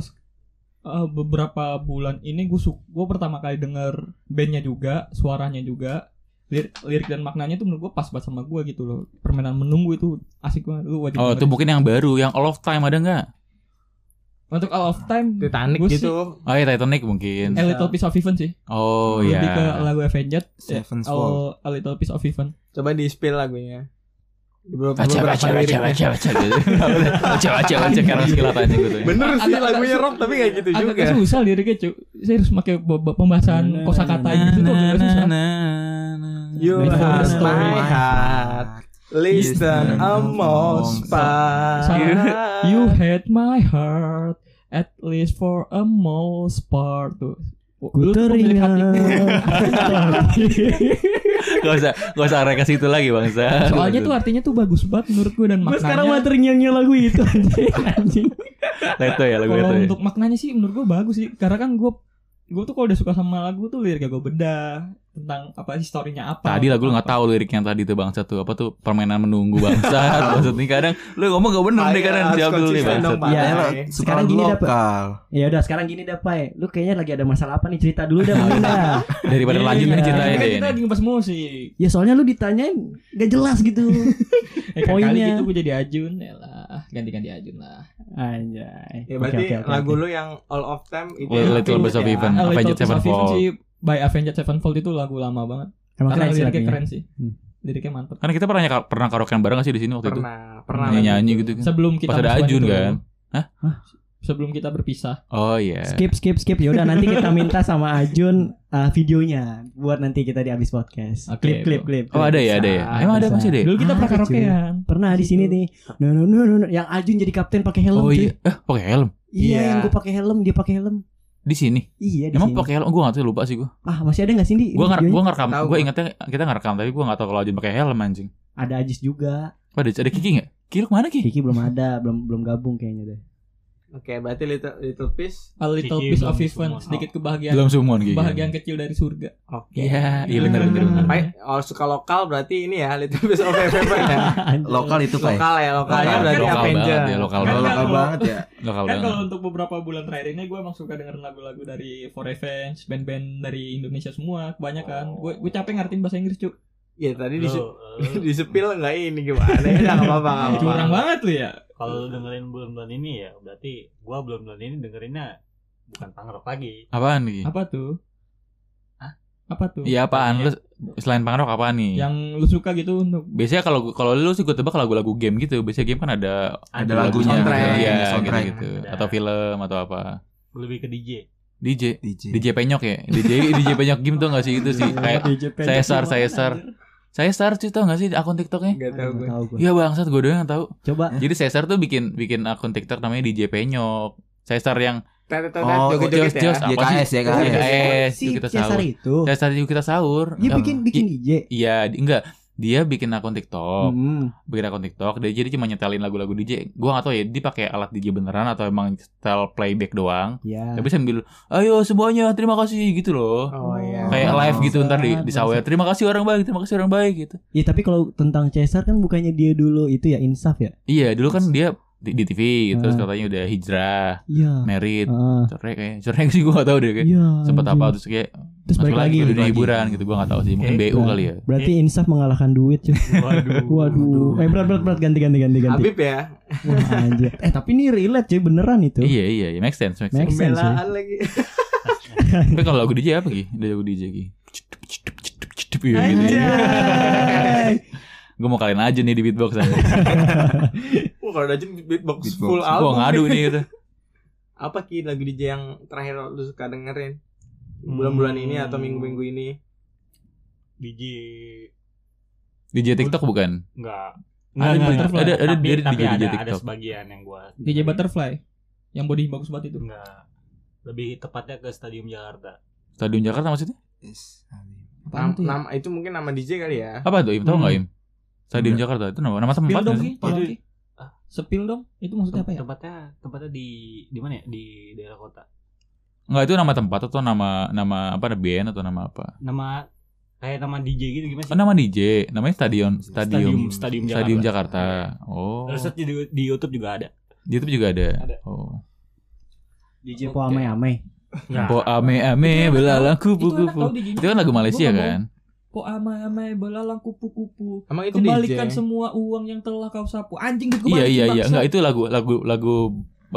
S2: eh, beberapa bulan ini gue gue pertama kali denger bandnya juga, suaranya juga, lir- lirik dan maknanya tuh menurut gue pas banget sama gue gitu loh. Permainan menunggu itu asik banget lu wajib.
S3: Oh, itu
S2: dengerin.
S3: mungkin yang baru, yang All of Time ada nggak?
S2: Untuk All of Time,
S1: Titanic
S2: Gua
S1: gitu.
S3: Oh, ya Titanic mungkin.
S2: A Little Piece of Heaven sih.
S3: Oh,
S2: Eh, Lebih ke
S3: iya.
S2: lagu Avenged. ya,
S5: Seven's Fall.
S2: All, A Little Piece of Heaven.
S1: Coba di-spill lagunya. Di beberapa
S3: Baca baca baca
S1: liriknya.
S3: baca baca baca baca baca karena sekilat aja gitu. ya.
S1: Bener sih
S2: Agak- agak
S1: lagunya
S2: su-
S1: rock tapi kayak gitu
S2: Agak
S1: juga.
S2: susah liriknya cuy. Saya harus pakai be- be- pembahasan kosakata
S3: Na,
S2: gitu tuh
S3: na,
S2: agak
S3: na,
S2: susah.
S3: na, na.
S1: You
S2: Next
S1: are
S2: story.
S1: my heart. Listen
S5: Listen
S1: almost
S5: amongst
S1: part.
S2: us. You had my heart at least for a most part tuh.
S4: Ku
S2: Lu tuh pemilik hatiku.
S4: teringat.
S3: Gak usah gak usah arah ke situ lagi bangsa.
S2: Soalnya tuh artinya tuh bagus banget menurut gue dan
S4: Gue sekarang mah
S2: maknanya.
S4: terngiang-ngiang lagu itu anjing. anjing.
S3: Leto ya lagu
S2: Kalau
S3: leto. ya.
S2: untuk maknanya sih menurut gue bagus sih karena kan gue gue tuh kalau udah suka sama lagu tuh liriknya gue bedah tentang apa historinya apa.
S3: Tadi lagu lu
S2: apa.
S3: gak tahu lirik yang tadi tuh bangsa tuh apa tuh permainan menunggu bangsa. Maksudnya kadang lu ngomong gak bener deh
S1: Makanya
S3: kadang
S1: harus
S3: jawab dulu nih
S1: konsisten
S3: bangsa.
S1: dong, Pak.
S4: Iya,
S5: Ya,
S1: Pak.
S5: sekarang
S4: gini dapat.
S5: lokal.
S4: Ya udah sekarang gini dah Pai Lu kayaknya lagi ada masalah apa nih cerita dulu dah mungkin dah.
S3: Daripada
S2: Iya,
S3: lanjut
S2: iya.
S3: nih ceritain
S2: Kan
S3: deh.
S2: Kita
S3: ini.
S2: lagi ngebahas musik.
S4: Ya soalnya lu ditanyain gak jelas gitu
S2: Eh, kali
S4: Poinnya.
S2: gitu gue jadi Ajun ya lah ganti-ganti Ajun lah.
S4: Anjay
S1: Ya berarti lagu lu yang all of time itu
S3: Well,
S1: ya.
S3: Iya, Little Bits of
S1: Ya.
S3: Heaven.
S2: A Ah, Little
S3: Kan Avenged
S2: Piece of Heaven
S3: Sevenfold.
S2: sih by Avenged Sevenfold itu lagu lama banget.
S4: Emang
S2: Karena
S4: keren sih
S2: liriknya
S4: lagunya.
S2: keren sih.
S4: Hmm.
S2: Liriknya mantep.
S3: Karena kita pernah nyaka- pernah karaokean bareng gak sih di sini waktu itu?
S1: Pernah, pernah.
S3: Nyanyi,
S1: lagu
S3: nyanyi
S1: itu.
S3: gitu kan.
S2: Sebelum kita
S3: Pas ada
S2: bersuara
S3: Ajun
S2: itu,
S3: kan? Hah?
S2: Sebelum kita berpisah.
S3: Oh iya.
S4: Skip skip skip ya udah nanti kita minta sama Ajun eh, videonya buat nanti kita di abis podcast.
S2: Oke,
S4: klip klip
S2: bro.
S4: klip.
S3: Oh ada ya, ada ya.
S1: Bisa,
S3: Emang ada
S4: bisa.
S3: masih deh.
S2: Dulu kita
S4: Ah,
S2: pernah
S4: cuy.
S2: karaokean.
S4: Pernah di sini nih. No no no no, no. yang Ajun jadi kapten pakai helm.
S3: Oh
S4: cuy.
S3: iya, eh pakai helm
S4: Iya,
S1: Iya.
S4: yang gue pakai helm, dia pakai helm.
S3: di sini.
S4: Iya, di
S3: Emang
S4: sini.
S3: pakai helm? Gue nggak tahu lupa sih gue.
S4: Ah, masih ada gak sih di
S3: Gue ngar,
S4: videonya?
S3: gue ngerekam.
S1: Tahu
S3: Gue
S1: gua.
S3: ingetnya kita ngerekam, tapi gue nggak tahu kalau Ajun pakai helm anjing.
S4: Ada Ajis juga.
S3: Apa ada, ada Kiki nggak? Kiki lu kemana Kiki?
S4: Kiki belum ada, belum belum gabung kayaknya deh.
S1: Oke, berarti Little Little Piece.
S2: A little
S6: Kiki
S2: piece of
S6: belum
S2: heaven,
S6: semua.
S2: sedikit kebahagiaan.
S3: Belum kan? sumon Kiki.
S2: Kebahagiaan kecil dari surga.
S1: Oke.
S3: Iya, iya bener bener. bener.
S1: Baik, kalau oh, suka lokal berarti ini ya Little Piece of Heaven ya.
S5: Lokal itu Pai.
S1: Lokal ya, lokalnya
S3: Iya. Lokal,
S1: berarti
S3: lokal
S1: Avenger.
S3: banget ya, lokal
S5: Lokal,
S3: banget,
S5: lokal
S2: Kan
S5: banget ya.
S3: lokal
S2: Kan
S3: banget.
S2: kalau untuk beberapa bulan terakhir ini gue emang suka dengerin lagu-lagu dari For Revenge, band-band dari Indonesia semua, kebanyakan.
S3: Oh.
S2: Gue gue capek ngertiin bahasa Inggris, Cuk.
S1: Ya tadi
S6: Lu,
S1: di
S6: lu,
S1: di sepil enggak ini gimana? Ya udah enggak apa-apa, nggak apa-apa.
S2: Curang banget lu ya.
S6: kalau lu dengerin bulan-bulan ini ya, berarti gua bulan-bulan ini dengerinnya bukan pangrok lagi.
S3: Apaan Kiki?
S2: Apa tuh? Apa tuh?
S4: gitu.
S3: Iya apaan? Lu selain punk rock apaan nih?
S2: Yang lu suka gitu untuk
S3: Biasanya kalau kalau lu sih gue tebak lagu-lagu game gitu. Biasanya game kan ada
S5: Ada
S3: lagunya,
S1: soundtrack,
S3: iya
S5: soundtrack.
S3: gitu, gitu.
S6: Ada.
S3: Atau film atau apa?
S6: Lebih ke DJ.
S3: DJ,
S5: DJ.
S3: DJ penyok ya, DJ DJ penyok game tuh nggak sih itu
S4: Iya,
S3: sih kayak saya sar saya sar saya sar sih tau nggak sih akun tiktoknya?
S1: Enggak tahu gue.
S4: Tahu gue.
S3: Iya bangsat gue doang yang tahu.
S4: Coba
S3: Jadi Cesar tuh bikin bikin akun TikTok namanya DJ Penyok. Cesar yang
S1: Tetet tetet
S5: Oh,
S1: joget-joget ya.
S3: jos-jos. apa
S5: YKS
S3: Iya,
S5: ya kan.
S3: eh,
S4: si
S3: yuk kita
S4: Cesar
S3: sahur.
S4: itu.
S3: Cesar yuk kita sahur.
S4: Dia
S3: Eh,
S4: bikin bikin DJ.
S3: Iya, di- enggak. Dia bikin akun TikTok,
S4: Hmm.
S3: bikin akun TikTok. Dia jadi cuma nyetelin lagu-lagu DJ. Gua nggak tahu ya, dia pakai alat DJ beneran atau emang style playback doang.
S4: Iya.
S3: Tapi sambil, ayo semuanya, terima kasih gitu loh.
S1: Oh iya.
S3: Kayak
S4: Oh,
S3: live gitu ntar di,
S4: bangsat,
S3: di sawer.
S4: bangsat.
S3: Terima kasih orang baik, terima kasih orang baik gitu.
S4: Iya, tapi kalau tentang Cesar kan bukannya dia dulu itu ya insaf ya?
S3: Iya, dulu kan dia di, di TV gitu. terus
S4: Ah.
S3: katanya udah hijrah
S4: Iya.
S3: merit
S4: Ah,
S3: cerai kayak cerai sih gue gak tau deh kayak
S4: Iya.
S3: sempet
S4: anjing.
S3: apa terus kayak
S4: Terus
S3: masuk
S4: balik lagi.
S3: lagi, ke dunia
S5: lagi.
S3: hiburan gitu gue gak tau sih mungkin
S6: Oke.
S3: BU kali ya
S4: Berarti insaf mengalahkan duit cuy.
S6: Waduh.
S4: Waduh. Eh berat berat berat ganti ganti ganti ganti.
S1: Habib ya
S4: Wah, anjir. Eh tapi ini relate cuy beneran itu.
S3: iya iya iya make sense make sense ya.
S4: Make- sense,
S1: pembelaan lagi
S3: tapi kalau lagu DJ apa Gi? ada lagu DJ Gi Cedup, cedup, cedup, cedup, ya, gitu ya.
S4: Anjay.
S3: gue mau kalian aja nih di beatbox aja
S1: Wah kalau Dajun beatbox,
S5: Beatbox.
S1: full
S3: gue
S1: album
S3: ngadu nih gitu
S1: Apa Ki lagu DJ yang terakhir lu suka dengerin
S2: Hmm.
S1: Bulan-bulan ini atau minggu-minggu ini
S6: DJ
S3: DJ TikTok bukan
S6: enggak.
S3: Ada
S6: Enggak,
S3: berita-
S6: enggak.
S3: ada- ada-
S6: tapi,
S3: dari
S6: tapi
S3: DJ
S6: ada, ada
S3: TikTok.
S6: sebagian yang gua
S2: DJ Butterfly yang body bagus banget itu.
S6: enggak lebih tepatnya ke Stadium Jakarta.
S3: Stadion Jakarta maksudnya
S5: Is-
S1: Nam-
S2: Apaan tuh? ya?
S1: nama, Itu mungkin nama DJ kali ya
S3: apa tuh Im tau nggak Im Stadion
S5: Enggak.
S3: Jakarta itu nama nama tempat
S2: Spill Iya dong
S3: nggak
S2: sih,
S3: sih?
S2: tolong
S6: Itu-
S2: Ki. Sepil dong. Itu maksudnya apa ya?
S6: Tempatnya tempatnya di di mana ya? Di daerah kota.
S3: nggak itu nama tempat atau nama nama apa band atau nama apa
S6: Nama kayak nama DJ gitu gimana sih?
S3: Oh, nama DJ, namanya stadion, stadium,
S6: Stadium Stadium Jakarta.
S3: stadium Jakarta. Oh,
S6: Terus di, di YouTube juga ada.
S3: di YouTube juga ada.
S6: Ada.
S3: Oh,
S4: DJ Po Ame Ame.
S3: po ame ame belalang kupu kupu. Itu kan lagu Malaysia kan?
S2: Po ama amai belalang kupu-kupu.
S1: Emang itu
S2: Kembalikan
S1: DJ
S2: semua uang yang telah kau sapu. Anjing gitu
S3: Iya iya iya,
S2: enggak
S3: enggak itu lagu lagu lagu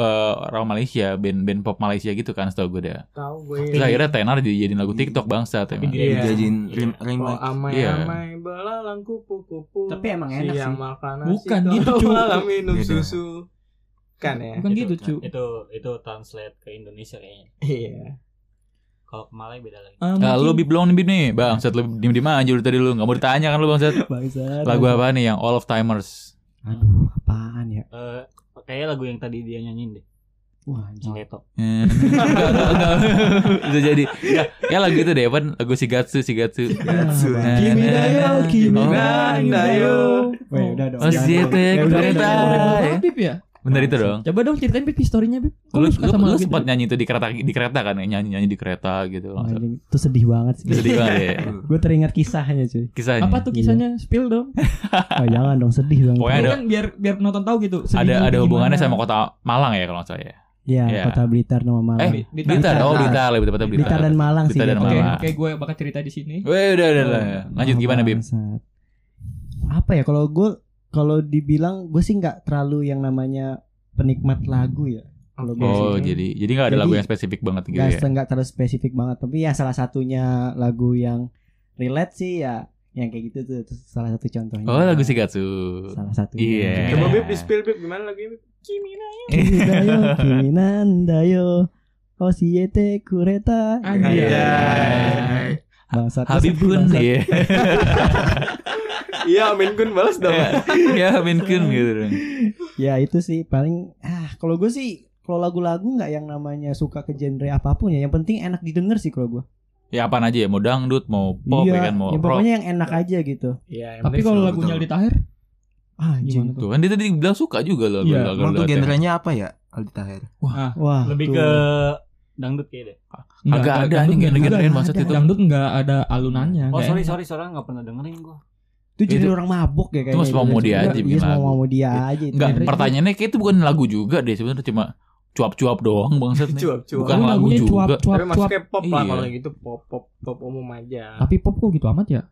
S3: eh, orang Malaysia, band band pop Malaysia gitu kan, setahu gue dah.
S1: Tahu gue
S3: Terus akhirnya tenar dijadiin lagu TikTok bangsa emang.
S1: Iya.
S5: Dijadiin rim-
S1: Oh
S5: remake.
S1: amai
S3: Iya.
S1: amai belalang kupu-kupu
S4: Tapi emang enak
S1: Siang
S4: sih.
S1: makan nasi
S2: Bukan gitu,
S1: kalau
S2: Cuk.
S1: Malam minum
S3: Gitu.
S5: Beda.
S1: susu Kan ya
S2: Bukan gitu, cu.
S6: Itu itu translate ke Indonesia kayaknya.
S1: Iya
S6: Kalau ke Malay beda lagi.
S2: Ah, mungkin-
S3: Nah, lu biblong nih Bib, nih bang, set lu diem diem aja lu tadi lu nggak mau ditanya kan lu bang set
S4: Bangsat.
S3: lagu apa nih yang All of Timers?
S4: Aduh, apaan ya?
S6: Eh kayaknya lagu yang tadi dia nyanyiin deh.
S4: Wah, anjing.
S6: Yang Leto.
S3: Eh, enggak, enggak, enggak. Bisa jadi ya, ya lagu itu deh Evan lagu Shigatsu Shigatsu
S5: Gatsu.
S3: Nah,
S4: Kimi
S3: nah,
S4: Dayo,
S3: nah.
S4: Kimi
S3: Oh.
S1: Dayo.
S4: Dayo. Weh, udah dong.
S3: Masih
S4: Jangan.
S3: tek,
S4: Eh, udah, udah,
S3: kereta.
S4: udah, udah.
S3: Ah, ya.
S2: Bib ya?
S3: Bener itu dong.
S2: Coba dong ceritain Bib historinya Bib. Kok
S3: Lu,
S2: suka
S3: lu,
S2: sama
S3: lu
S2: lagu itu?
S3: sempat nyanyi itu di kereta di kereta kan nyanyi nyanyi di kereta gitu
S4: Wah,
S2: Oh,
S3: langsung.
S4: anjing, Itu sedih banget sih.
S3: Itu sedih banget ya
S4: Gue teringat kisahnya cuy.
S3: kisahnya.
S2: iya. Apa tuh kisahnya? Spill dong.
S4: Oh, jangan dong sedih banget.
S3: Pokoknya
S2: Ini
S3: Iya. ada
S2: kan biar biar penonton tahu gitu.
S3: ada
S2: sedihnya
S3: ada
S2: gimana.
S3: hubungannya sama kota Malang ya kalau nggak salah ya.
S4: Ya,
S3: Iya.
S4: Kota Blitar nama
S3: Eh,
S4: Malang.
S3: Blitar, oh Blitar lebih tepatnya Blitar.
S4: Blitar dan Malang sih. gitu.
S3: Blitar dan
S4: jatuhnya.
S2: Oke,
S3: Malang.
S2: oke gue bakal cerita di sini.
S3: Weh udah udah udah.
S2: Oh,
S3: Lanjut
S4: Ah,
S3: gimana Bib?
S4: bangsat. Apa ya kalau gue kalau dibilang gue sih nggak terlalu yang namanya penikmat lagu ya. Kalau gue
S2: Iya
S3: Oh
S4: sih.
S3: jadi jadi nggak ada
S4: Jadi-
S3: lagu yang spesifik banget gitu
S4: nggak
S3: ya.
S4: nggak terlalu spesifik banget tapi ya salah satunya lagu yang relate sih ya yang kayak gitu tuh Itu salah satu contohnya
S3: Oh lagu Shigatsu.
S4: salah satu gitu.
S3: Iya.
S1: Coba Bib di spill Bib Gimana lagunya Bib
S4: Dayo Kiminan Dayo Oshiete Kureta
S2: Anjay.
S4: Bangsat
S3: Habib Kun
S4: bangsat.
S3: ya.
S1: Iya Amin Kun balas dong
S3: Ya Habib Kun gitu. dong.
S4: Ya itu sih paling ah kalau gue sih kalau lagu-lagu nggak yang namanya suka ke genre apapun ya yang penting enak didengar sih kalau gue
S3: Ya apaan aja ya mau dangdut mau pop
S2: Iya,
S3: ya kan mau
S4: ya,
S3: rock.
S4: pokoknya yang enak aja gitu
S1: Iya yang
S2: Tapi
S1: penting
S2: kalau
S5: Betul,
S2: lagunya
S5: betul.
S2: Aldi Tahir
S4: ah
S2: gimana
S4: anjing
S2: tuh?
S3: Tuh kan dia tadi bilang suka juga loh.
S2: Iya,
S3: lagu-
S5: Emang
S3: lagu
S5: tuh
S3: lagu-
S5: genrenya apa ya Aldi Tahir?
S4: wah
S6: Lebih
S4: Ah, tuh.
S6: ke dangdut kayaknya deh.
S2: Nggak
S3: Agak ada
S2: dangdut
S3: anjing
S2: nggak
S3: yang
S2: ada.
S3: dengerin maksud
S4: ada.
S3: itu.
S2: Dangdut nggak ada alunannya.
S6: Oh
S2: nggak
S6: sorry
S2: enak.
S6: sorry sorry nggak pernah dengerin gua.
S4: itu jadi
S3: Itu-
S4: orang mabok ya kayaknya
S3: Itu semua mau dia aja bikin
S4: iya semua
S3: lagu.
S4: mau dia aja itu. Iya,
S3: Enggak,
S2: Genre itu.
S3: pertanyaannya kayak itu bukan lagu juga deh sebenarnya cuma cuap-cuap doang bangsat nih.
S1: Cuap-cuap.
S3: Iya. Bukan
S2: Lu
S3: lagu
S2: lagunya
S3: juga.
S2: cuap cuap
S1: Tapi
S2: cuap.
S1: masuknya pop lah
S3: Iya.
S1: kalau gitu pop pop pop umum aja.
S2: Tapi pop kok gitu amat ya?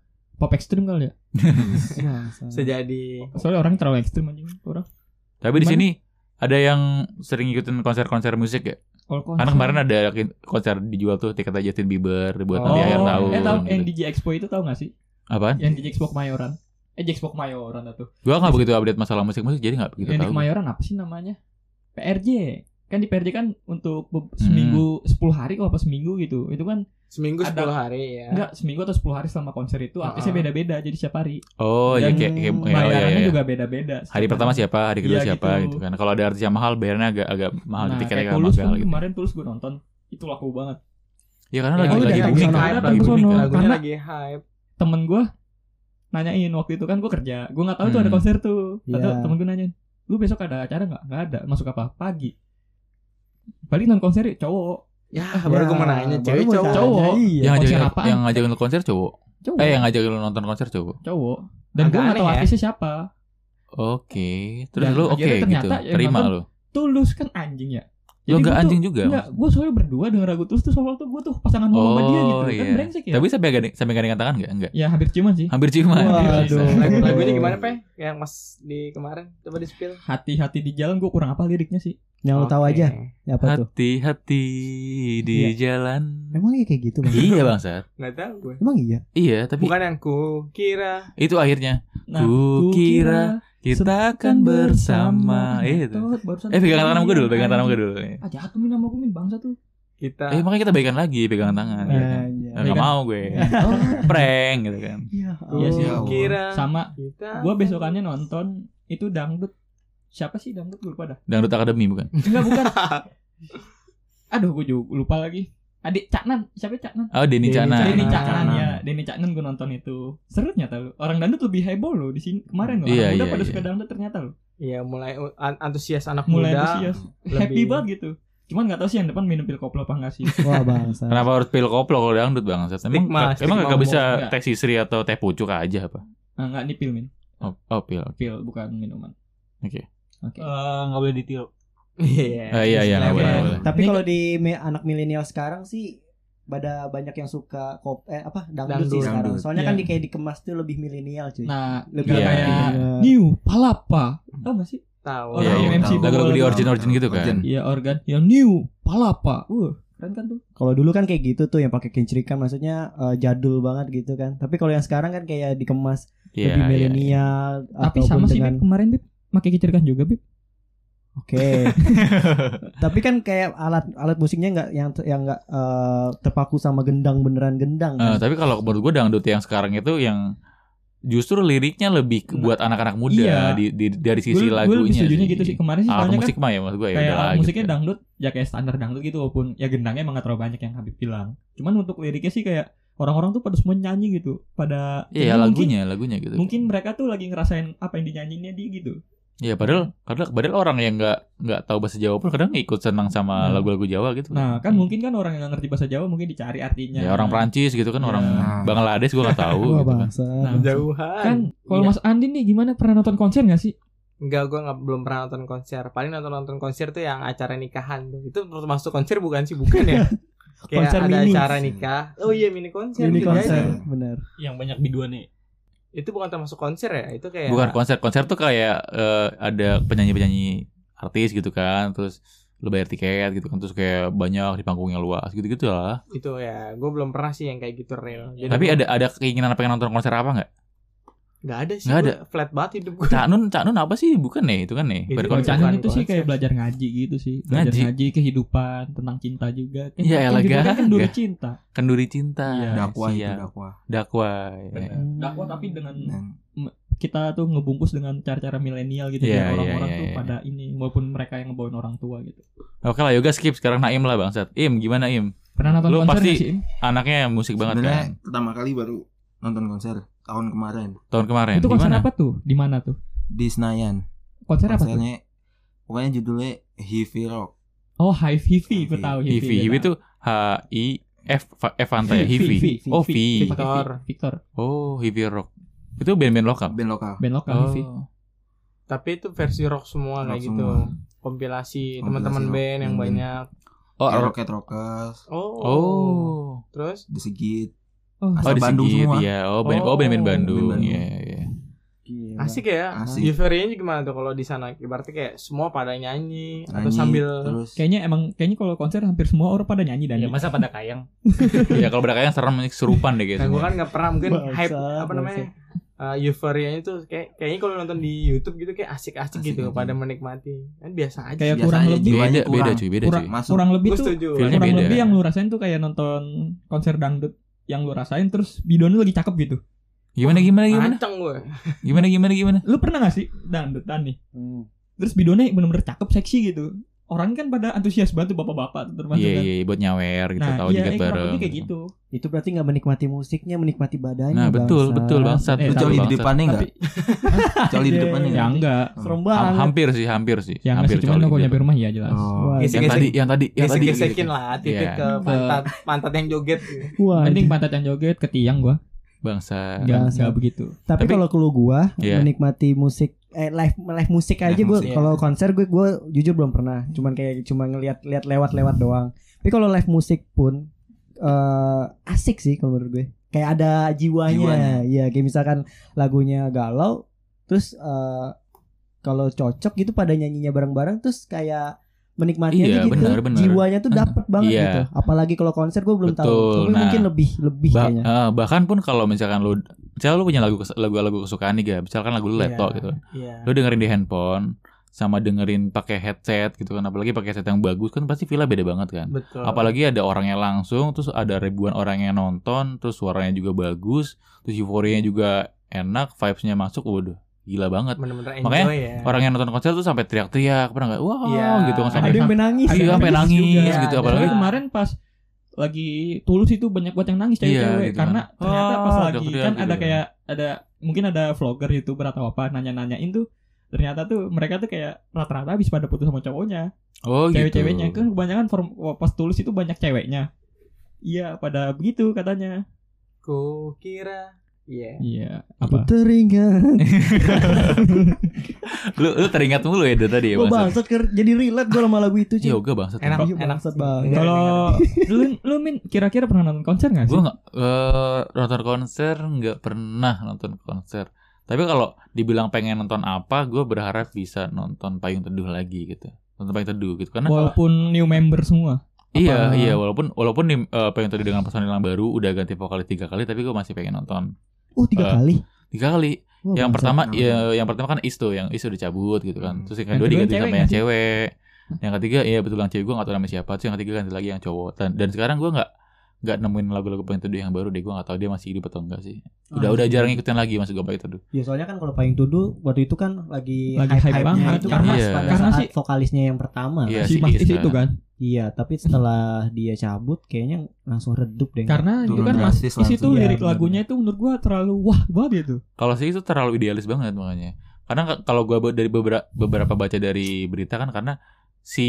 S2: Pop ekstrim kali ya?
S4: Bangsat.
S6: Iya.
S1: Sejadi
S2: Soalnya orang terlalu ekstrim anjing orang.
S3: Tapi di
S2: Gimana?
S3: sini ada yang sering ngikutin konser-konser musik ya.
S2: Kalau konser-
S3: Karena kemarin ada konser dijual tuh tiket aja Justin Bieber dibuat
S1: Oh.
S3: nanti akhir tahun.
S2: Eh tahu yang
S3: gitu.
S2: DJ Expo itu tahu gak sih?
S3: Apaan?
S2: Yang DJ Expo Kemayoran. Eh DJ Expo Kemayoran dah tuh.
S3: Gua nggak begitu update masalah musik-musik jadi nggak begitu
S2: yang di
S3: tahu.
S2: Kemayoran apa sih namanya? PRJ. Kan di PRJ kan untuk be-
S3: Hmm.
S2: seminggu 10 hari kalau apa seminggu gitu. Itu kan
S1: seminggu
S2: Ada-
S1: 10 hari ya.
S2: enggak seminggu atau 10 hari selama konser itu artisnya
S1: Ah.
S2: beda-beda jadi setiap hari.
S3: Oh, ya
S2: Dan
S3: kayak kayak oh, ya, ya,
S2: Bayarannya
S3: ya.
S2: juga beda-beda. setiap
S3: Hari pertama ah, siapa, hari kedua
S2: Iya,
S3: siapa
S2: gitu.
S3: gitu. kan. Kalau ada artis yang mahal bayarnya agak agak mahal
S2: Nah,
S3: tiketnya
S2: kayak
S3: agak
S2: tulus
S3: mahal
S2: tuh
S3: gitu.
S2: kemarin tulus gue nonton. Itu laku banget.
S3: Ya karena
S1: Ya,
S3: lagi
S2: Oh,
S3: lagi
S2: udah,
S3: booming
S2: udah,
S3: kan,
S2: udah,
S3: lagi
S2: udah, udah,
S3: booming kan.
S2: udah.
S1: Lagunya
S2: Karena-
S1: lagi hype.
S2: Temen gue nanyain waktu itu kan gue kerja. Gue nggak tahu itu ada
S3: Hmm.
S2: konser tuh. Atau
S4: Iya.
S2: temen gue nanyain, lu besok ada acara nggak? Nggak ada. Masuk apa? Pagi. Balik nonton konser ya, cowok.
S1: Ya,
S4: Ya,
S1: baru gue mau nanya
S4: baru
S1: cewek
S4: mau
S1: cowok.
S4: tanya,
S2: Cowok.
S4: iya.
S3: Yang ngajakin
S2: konser apaan?
S3: yang ngajakin lu konser cowok.
S2: Cowok.
S3: Eh yang ngajakin lu nonton konser cowok.
S2: cowok. Dan
S1: Agak
S2: gue nggak tahu
S1: aneh ya.
S2: artisnya siapa.
S3: Oke, terus
S2: Dan
S3: lu oke
S2: akhirnya
S3: gitu,
S2: ternyata yang
S3: terima
S2: nonton
S3: lu.
S2: Tulus kan anjing ya.
S3: Lu
S2: Jadi
S3: gak
S2: gua tuh-
S3: anjing juga?
S2: Enggak, gue soalnya berdua denger lagu Tulus tuh soalnya tuh gue tuh pasangan ngomong sama dia gitu. Kan
S3: iya.
S2: brengsek ya.
S3: Tapi sampai gandeng, sampai gandengan tangan enggak? Enggak.
S2: ya hampir ciuman sih.
S3: Hampir Iya, ciuman.
S2: Waduh.
S1: Lagu- Lagunya gimana, Pe? Yang Mas di kemarin coba di spill.
S2: Hati-hati di jalan gue kurang apa liriknya sih.
S4: Yang lu tahu
S1: Oke.
S4: aja ya apa tuh?
S3: Hati-hati
S2: Iya.
S3: di jalan.
S4: Emang iya kayak gitu bang?
S3: Iya bang Sat.
S1: Nggak tahu gue.
S4: Emang iya.
S3: Iya, tapi
S1: Bukan yang ku kira.
S3: itu akhirnya
S2: Nah,
S3: Ku kira kita akan bersama. Itu. Eh pegangan
S2: Iya.
S3: tangan gue dulu, pegangan tangan gue dulu.
S2: Ah jatuh min sama gue min bangsa tuh.
S1: Kita
S3: Eh makanya kita baikan lagi pegangan tangan. Iya kan?
S4: iya.
S3: Nah, Gak
S2: Pegangan.
S3: mau gue. Prank gitu kan.
S4: Iya.
S1: ku
S2: Iya sih.
S1: kira.
S2: Sama
S1: Kita.
S2: gue besokannya nonton itu dangdut. Siapa sih dangdut gue lupa dah.
S3: Dangdut Akademi bukan?
S2: Enggak bukan. Aduh gue juga lupa lagi. Adik Caknan, siapa Caknan?
S3: Oh Denny
S1: Denny
S3: Cana.
S1: Nah,
S2: Denny
S1: nah,
S2: Caknan
S1: nah.
S2: ya, Denny Caknan gue nonton itu. Seru ternyata lu. Orang dangdut lebih heboh lo di sini kemarin lo. Orang
S3: Iya,
S2: muda
S3: iya,
S2: pada
S3: iya.
S2: suka dangdut ternyata lo.
S1: Iya mulai uh, an- antusias anak
S2: Mulai
S1: muda.
S2: antusias. Happy banget gitu. Cuman nggak tahu sih yang depan minum pil koplo apa nggak sih.
S4: Wah bangsa.
S3: Kenapa harus pil koplo kalau dangdut bang? Sat? Emang
S1: Stigma,
S3: gak-
S1: stigma
S3: emang gak bisa
S2: ngomong. Enggak.
S3: teh sisri atau teh pucuk aja apa?
S2: Ah, nggak ini pil min.
S3: Oh, oh pil.
S2: Pil bukan minuman.
S3: Oke.
S2: Oke.
S6: Eh, nggak boleh ditiru
S1: Iya.
S3: Eh, iya iya nggak
S2: Oke.
S3: boleh. nggak boleh.
S4: Tapi
S2: Ini
S4: kalau
S1: kan
S4: di me- anak milenial sekarang sih pada banyak yang suka kop eh apa dangdut,
S1: Dangdut.
S4: sih sekarang.
S5: Dangdut.
S4: Soalnya kan
S2: Iya.
S4: di kayak dikemas tuh lebih milenial cuy.
S2: Nah,
S4: lebih
S3: Iya.
S2: nggak
S4: kayak
S2: kayak New Palapa. Tahu nggak sih?
S1: Tahu.
S2: Orang
S3: Iya, iya.
S2: MC bawa
S3: Lagu-lagu di
S2: lagu.
S3: origin origin gitu kan.
S5: Origin.
S2: Iya organ yang New Palapa. Uh, keren kan tuh.
S4: Kalau dulu kan kayak gitu tuh yang pakai kincirikan maksudnya eh, jadul banget gitu kan. Tapi kalau yang sekarang kan kayak dikemas
S3: Iya.
S4: lebih
S3: iya, iya.
S4: milenial
S2: Tapi
S4: ataupun
S2: sama sih
S4: dengan-
S2: Bib kemarin Bib pakai kicirkan kan juga Bib.
S4: Oke. Tapi kan kayak alat alat musiknya nggak yang yang nggak eh, terpaku sama gendang beneran gendang.
S3: Eh,
S4: kan?
S3: tapi kalau menurut gue dangdut yang sekarang itu yang justru liriknya lebih ke- buat anak-anak
S2: Iya.
S3: muda di, di- dari
S2: Gue gue
S3: sisi lagunya.
S2: lebih setujunya gitu sih kemarin sih
S3: Ah,
S2: soalnya
S3: musik
S2: kan
S3: mah ya maksud gue ya
S2: kayak
S3: udahlah
S2: alat
S3: gitu
S2: musiknya
S3: kan.
S2: dangdut ya kayak standar dangdut gitu walaupun ya gendangnya emang gak terlalu banyak yang Habib bilang. Cuman untuk liriknya sih kayak orang-orang tuh pada semua nyanyi gitu pada Jadi
S3: Iya lagunya lagunya gitu.
S2: mungkin, mungkin mereka tuh lagi ngerasain apa yang dinyanyinya dia gitu.
S3: Iya padahal padahal padahal orang yang nggak nggak tahu bahasa Jawa pun kadang ikut senang sama
S2: Nah.
S3: lagu-lagu Jawa gitu.
S2: Nah, kan
S3: Iya.
S2: mungkin kan orang yang nggak ngerti bahasa Jawa mungkin dicari artinya.
S3: Ya orang Prancis gitu kan
S2: Iya.
S3: orang
S5: Nah.
S3: Bangladesh gue nggak tahu.
S4: Wah
S3: gitu kan.
S4: bangsa.
S2: Nah,
S1: Jauhan.
S2: kan kalau Mas Andin nih gimana pernah nonton konser gak sih?
S1: Enggak, gue nggak belum pernah nonton konser. Paling nonton nonton konser tuh yang acara nikahan tuh. Itu termasuk konser bukan sih? Bukan ya? Kayak
S4: Konser
S1: ada
S4: mini.
S1: acara nikah. Oh iya mini konser.
S4: Ini
S1: gitu
S4: konser
S1: aja.
S4: bener.
S6: yang banyak biduannya.
S1: Itu bukan termasuk konser ya? Itu kayak
S5: Iya.
S3: Bukan konser konser tuh kayak eh, ada penyanyi-penyanyi artis gitu kan terus lu bayar tiket gitu kan terus kayak banyak di panggung yang luas gitu-gitu lah.
S1: itu ya. Gue belum pernah sih yang kayak gitu real. Jadi
S2: Iya,
S3: Tapi ada ada keinginan pengen nonton konser apa nggak?
S1: Nggak ada sih.
S3: Nggak
S1: Nggak ada. Flat banget hidup gue.
S3: Cak Nun, Cak Nun apa sih? Bukan nih, itu kan nih.
S1: Itu
S2: Kalau
S3: Berkon-
S1: Bukan
S2: Cahnin itu sih
S1: konser.
S2: kayak belajar ngaji gitu sih. Belajar
S3: Ngaji.
S2: ngaji, kehidupan, tentang cinta juga. Kan,
S3: Ya
S2: kan
S3: elah,
S2: judulnya
S3: gak-
S2: kan duri
S3: gak.
S2: cinta.
S3: Kenduri cinta.
S2: Iya.
S5: Dakwah itu
S3: Siap.
S5: dakwah.
S3: Dakwah. ya.
S2: Bener.
S4: Hmm.
S2: Dakwah tapi dengan
S3: Nah.
S5: Dan
S2: kita tuh ngebungkus dengan cara-cara milenial gitu
S3: Iya,
S2: biar
S3: iya,
S2: orang-orang
S3: iya,
S2: tuh
S3: iya.
S2: pada ini walaupun mereka yang ngebawain orang tua gitu.
S3: Oke lah, yoga skip sekarang Naim lah Bang Sat. Im, gimana Im?
S2: Pernah nonton
S3: Lu
S2: konser nggak
S3: pasti-
S2: sih? Im?
S3: Anaknya musik banget
S5: sebenarnya
S3: kan.
S5: pertama kali baru nonton konser tahun kemarin
S3: Tahun kemarin.
S2: Itu
S3: Eh, Di
S2: konser
S3: mana?
S2: apa tuh? Di mana tuh?
S5: di Senayan.
S2: Konser apa tuh?
S5: Konsernya pokoknya judulnya Heavy Rock.
S2: Oh, Hive Hivi, gue
S5: Hivi.
S2: tahu iya.
S3: Hivi. Hivi
S2: kan?
S3: itu H I F F Fanta ya, Hivi. Oh, Hivi.
S2: Victor, Victor,
S3: Oh, Hivi Rock. Itu band-band lokal.
S5: Band lokal.
S2: band lokal
S3: Oh.
S2: Hivi.
S1: Tapi itu versi rock semua kayak
S5: Rock
S1: gitu.
S5: semua.
S1: Kompilasi
S5: Kompilasi
S1: teman-teman
S5: rock,
S1: band yang
S3: Hmm.
S5: band-band.
S1: banyak.
S3: Oh,
S5: Kayak
S3: rock.
S5: Rocket Rockers,
S1: Oh.
S3: Oh.
S1: Terus
S5: The Sigit,
S2: Oh,
S5: Asal
S3: di
S5: Bandung
S3: Sigit,
S5: semua.
S3: Iya, oh band oh, band,
S1: Oh,
S3: band Bandung.
S5: band Bandung.
S3: Iya, iya.
S4: Gila.
S1: asik ya.
S5: Asik.
S1: Euforia-nya gimana tuh kalau di sana? Ibaratnya kayak semua pada nyanyi, atau
S5: nyanyi,
S1: sambil
S3: Hmm.
S5: terus
S2: Kayaknya emang kayaknya kalau konser hampir semua orang pada nyanyi dan
S3: Iya,
S6: Ya masa pada kayang.
S3: Ya kalau berada kayak serem serupan deh gitu.
S1: Nah,
S3: guys.
S1: gue kan nggak pernah mungkin
S4: Bangsat,
S1: hype apa
S4: bangsat.
S1: namanya uh, euforianya tuh kayak kayaknya kalau nonton di YouTube gitu kayak asik-asik
S5: Asik
S1: gitu
S5: aja.
S1: pada menikmati kan biasa aja.
S2: kayak
S5: Biasa
S2: kurang
S5: aja,
S2: lebih
S5: jiwanya
S3: Beda, beda
S5: kurang.
S3: cuy, beda
S2: kurang,
S3: cuy.
S5: Masuk.
S2: kurang lebih
S1: Gue
S2: tuh
S1: setuju.
S3: Feel-nya
S2: kurang
S3: beda. ya?
S2: lebih yang lu rasain tuh kayak nonton konser dangdut yang lu rasain terus bidoan lu lagi cakep gitu.
S3: Gimana gimana gimana?
S1: Ancang gue.
S3: Gimana gimana gimana?
S2: Lu pernah gak sih dangdutan nih?
S4: Hmm.
S2: Terus bidoannya bener-bener cakep seksi gitu. Orang kan pada antusias banget tuh bapak-bapak tuh termasuk
S3: Iya,
S2: kan.
S3: iya, buat nyawer gitu
S2: nah,
S3: tahu
S2: iya,
S3: juga
S2: eh, kenapa
S3: bareng.
S2: dia kayak gitu.
S4: Itu berarti nggak menikmati musiknya, menikmati badannya.
S3: Nah, betul,
S4: bangsa.
S3: betul bangsat.
S2: iya. Eh,
S5: Lu
S3: betul,
S5: coli di
S3: bangsat.
S5: depannya enggak?
S2: Tapi
S5: Coli di
S2: ya
S5: depannya enggak?
S2: enggak.
S4: Serem
S3: Ham-
S4: banget.
S3: hampir sih, hampir sih.
S2: Ya enggak
S3: hampir gitu.
S2: sih cuman
S3: coli
S2: kalau
S3: di
S2: nyampe
S3: depan.
S2: rumah ya jelas.
S5: Oh.
S4: Wah,
S3: Yang
S1: Gesek-gesek.
S3: tadi, yang tadi,
S1: Iya
S3: yang Ya, tadi.
S1: Gesek-gesekin lah titik
S3: Iya.
S1: ke pantat pantat yang joget. gitu.
S4: Wah,
S2: Mending pantat yang joget ke tiang gua. Enggak
S3: Bangsa. Iya.
S4: Bangsat.
S2: enggak begitu.
S4: Tapi
S3: Tapi-
S4: kalau kelu gua
S3: Iya.
S4: menikmati musik eh, live live musik aja
S5: Live
S4: gue
S5: musik,
S4: kalau konser gue gue jujur belum pernah cuman kayak cuma ngelihat lihat lewat lewat doang tapi kalau live musik pun eh asik sih kalau menurut gue kayak ada
S5: Jiwanya.
S4: jiwanya ya kayak misalkan lagunya galau terus eh kalau cocok gitu pada nyanyinya bareng-bareng terus kayak menikmati
S3: Iya,
S4: aja gitu
S3: benar, benar.
S4: jiwanya tuh dapet banget
S3: Iya.
S4: gitu apalagi kalau konser gue belum
S3: Betul,
S4: tahu tapi
S3: nah.
S4: mungkin lebih lebih
S3: Bah-
S2: iya.
S4: kayaknya
S3: eh, bahkan pun kalau misalkan lu misalnya lu punya lagu kes- lagu-lagu kesukaan nih, Ga. misalkan lagu lu laptop gitu.
S1: Iya.
S3: Lu dengerin di handphone sama dengerin pakai headset gitu kan apalagi pakai headset yang bagus kan pasti feel beda banget kan.
S1: Betul.
S3: Apalagi ada orangnya langsung terus ada ribuan orang yang nonton, terus suaranya juga bagus, terus euforianya juga enak, vibes-nya masuk, waduh, gila banget.
S1: bener-bener enjoy
S3: Makanya
S1: ya.
S3: Orang yang nonton konser tuh sampai teriak-teriak, pernah nggak? Wah,
S1: Iya.
S3: gitu kan
S2: Ada
S3: sampai
S4: ada yang menangis
S2: ada
S3: Iya,
S2: yang
S3: sampai
S2: nangis
S3: nangis
S2: juga.
S3: gitu
S1: Ada.
S3: apalagi
S2: Soalnya kemarin pas lagi tulus itu banyak banget yang nangis cewek-cewek
S3: Iya, gitu
S2: karena
S3: kan.
S2: ternyata pas
S3: Ah,
S2: lagi
S3: teriak-teriak
S2: kan
S3: gitu
S2: ada
S3: kan.
S2: kayak ada mungkin ada vlogger youtuber atau apa nanya-nanyain tuh ternyata tuh mereka tuh kayak rata-rata habis pada putus sama cowoknya
S3: Oh,
S2: cewek-ceweknya
S3: gitu.
S2: kan kebanyakan form, pas tulus itu banyak ceweknya iya pada begitu katanya
S1: Ku kira. Iya.
S2: iya apa
S4: teringat
S3: lu, lu teringat mulu ya dari tadi ya,
S4: gue
S3: Bang Sat?
S4: bangsat ker- jadi relate gue sama lagu itu cuy
S3: Yoga bangsat.
S1: Enak,
S4: Iya,
S1: enak.
S4: bangsat banget.
S1: Iya,
S2: kalau lu lu min kira-kira pernah nonton konser nggak sih
S3: Gue nggak eh, nonton konser, nggak pernah nonton konser. Tapi kalau dibilang pengen nonton apa, gue berharap bisa nonton Payung Teduh lagi gitu. Nonton Payung Teduh gitu karena
S2: walaupun new member semua
S3: iya
S2: apa-
S3: iya walaupun walaupun nih eh, Payung Teduh dengan personil yang baru udah ganti vokalis tiga kali, tapi gue masih pengen nonton
S4: oh tiga
S3: Eh,
S4: kali
S3: tiga kali.
S4: Wah,
S3: yang
S4: bangsat.
S3: pertama
S5: kenapa
S3: ya yang pertama kan Is tuh yang Is udah cabut gitu kan
S5: Hmm.
S3: terus
S2: Yang
S3: yang kedua
S2: kedua
S3: diganti
S2: cewek
S3: sama
S2: nggak
S3: yang
S2: sih?
S3: cewek yang ketiga iya betul yang cewek gue gak tau nama siapa terus yang ketiga ganti lagi yang cowok dan, dan sekarang gue nggak nggak nemuin lagu-lagu Payung Teduh yang baru deh gue gak tau dia masih hidup atau enggak sih udah
S4: Ah,
S3: udah
S4: iya.
S3: jarang ngikutin lagi masuk gue Payung Teduh
S4: ya soalnya kan kalau Payung Teduh waktu itu kan
S1: Iya,
S4: lagi
S2: Lagi hype
S4: hype-hypenya
S2: banget.
S4: itu karena
S3: Iya.
S4: pada
S2: Karena
S4: saat
S2: sih-
S4: vokalisnya yang pertama
S3: Iya,
S4: kan.
S2: si
S3: si
S2: mas
S3: Is
S2: Is
S3: kan.
S2: itu kan
S4: iya tapi setelah dia cabut kayaknya langsung redup deh
S2: Karena itu
S5: Turun
S2: kan Mas
S5: drastis
S2: Is itu
S1: ya,
S5: langsung.
S2: lirik
S4: Iya,
S2: lagunya itu menurut gua terlalu wah banget itu.
S3: kalau sih itu terlalu idealis banget makanya karena ka- kalau gue dari beberapa beberapa baca dari berita kan karena si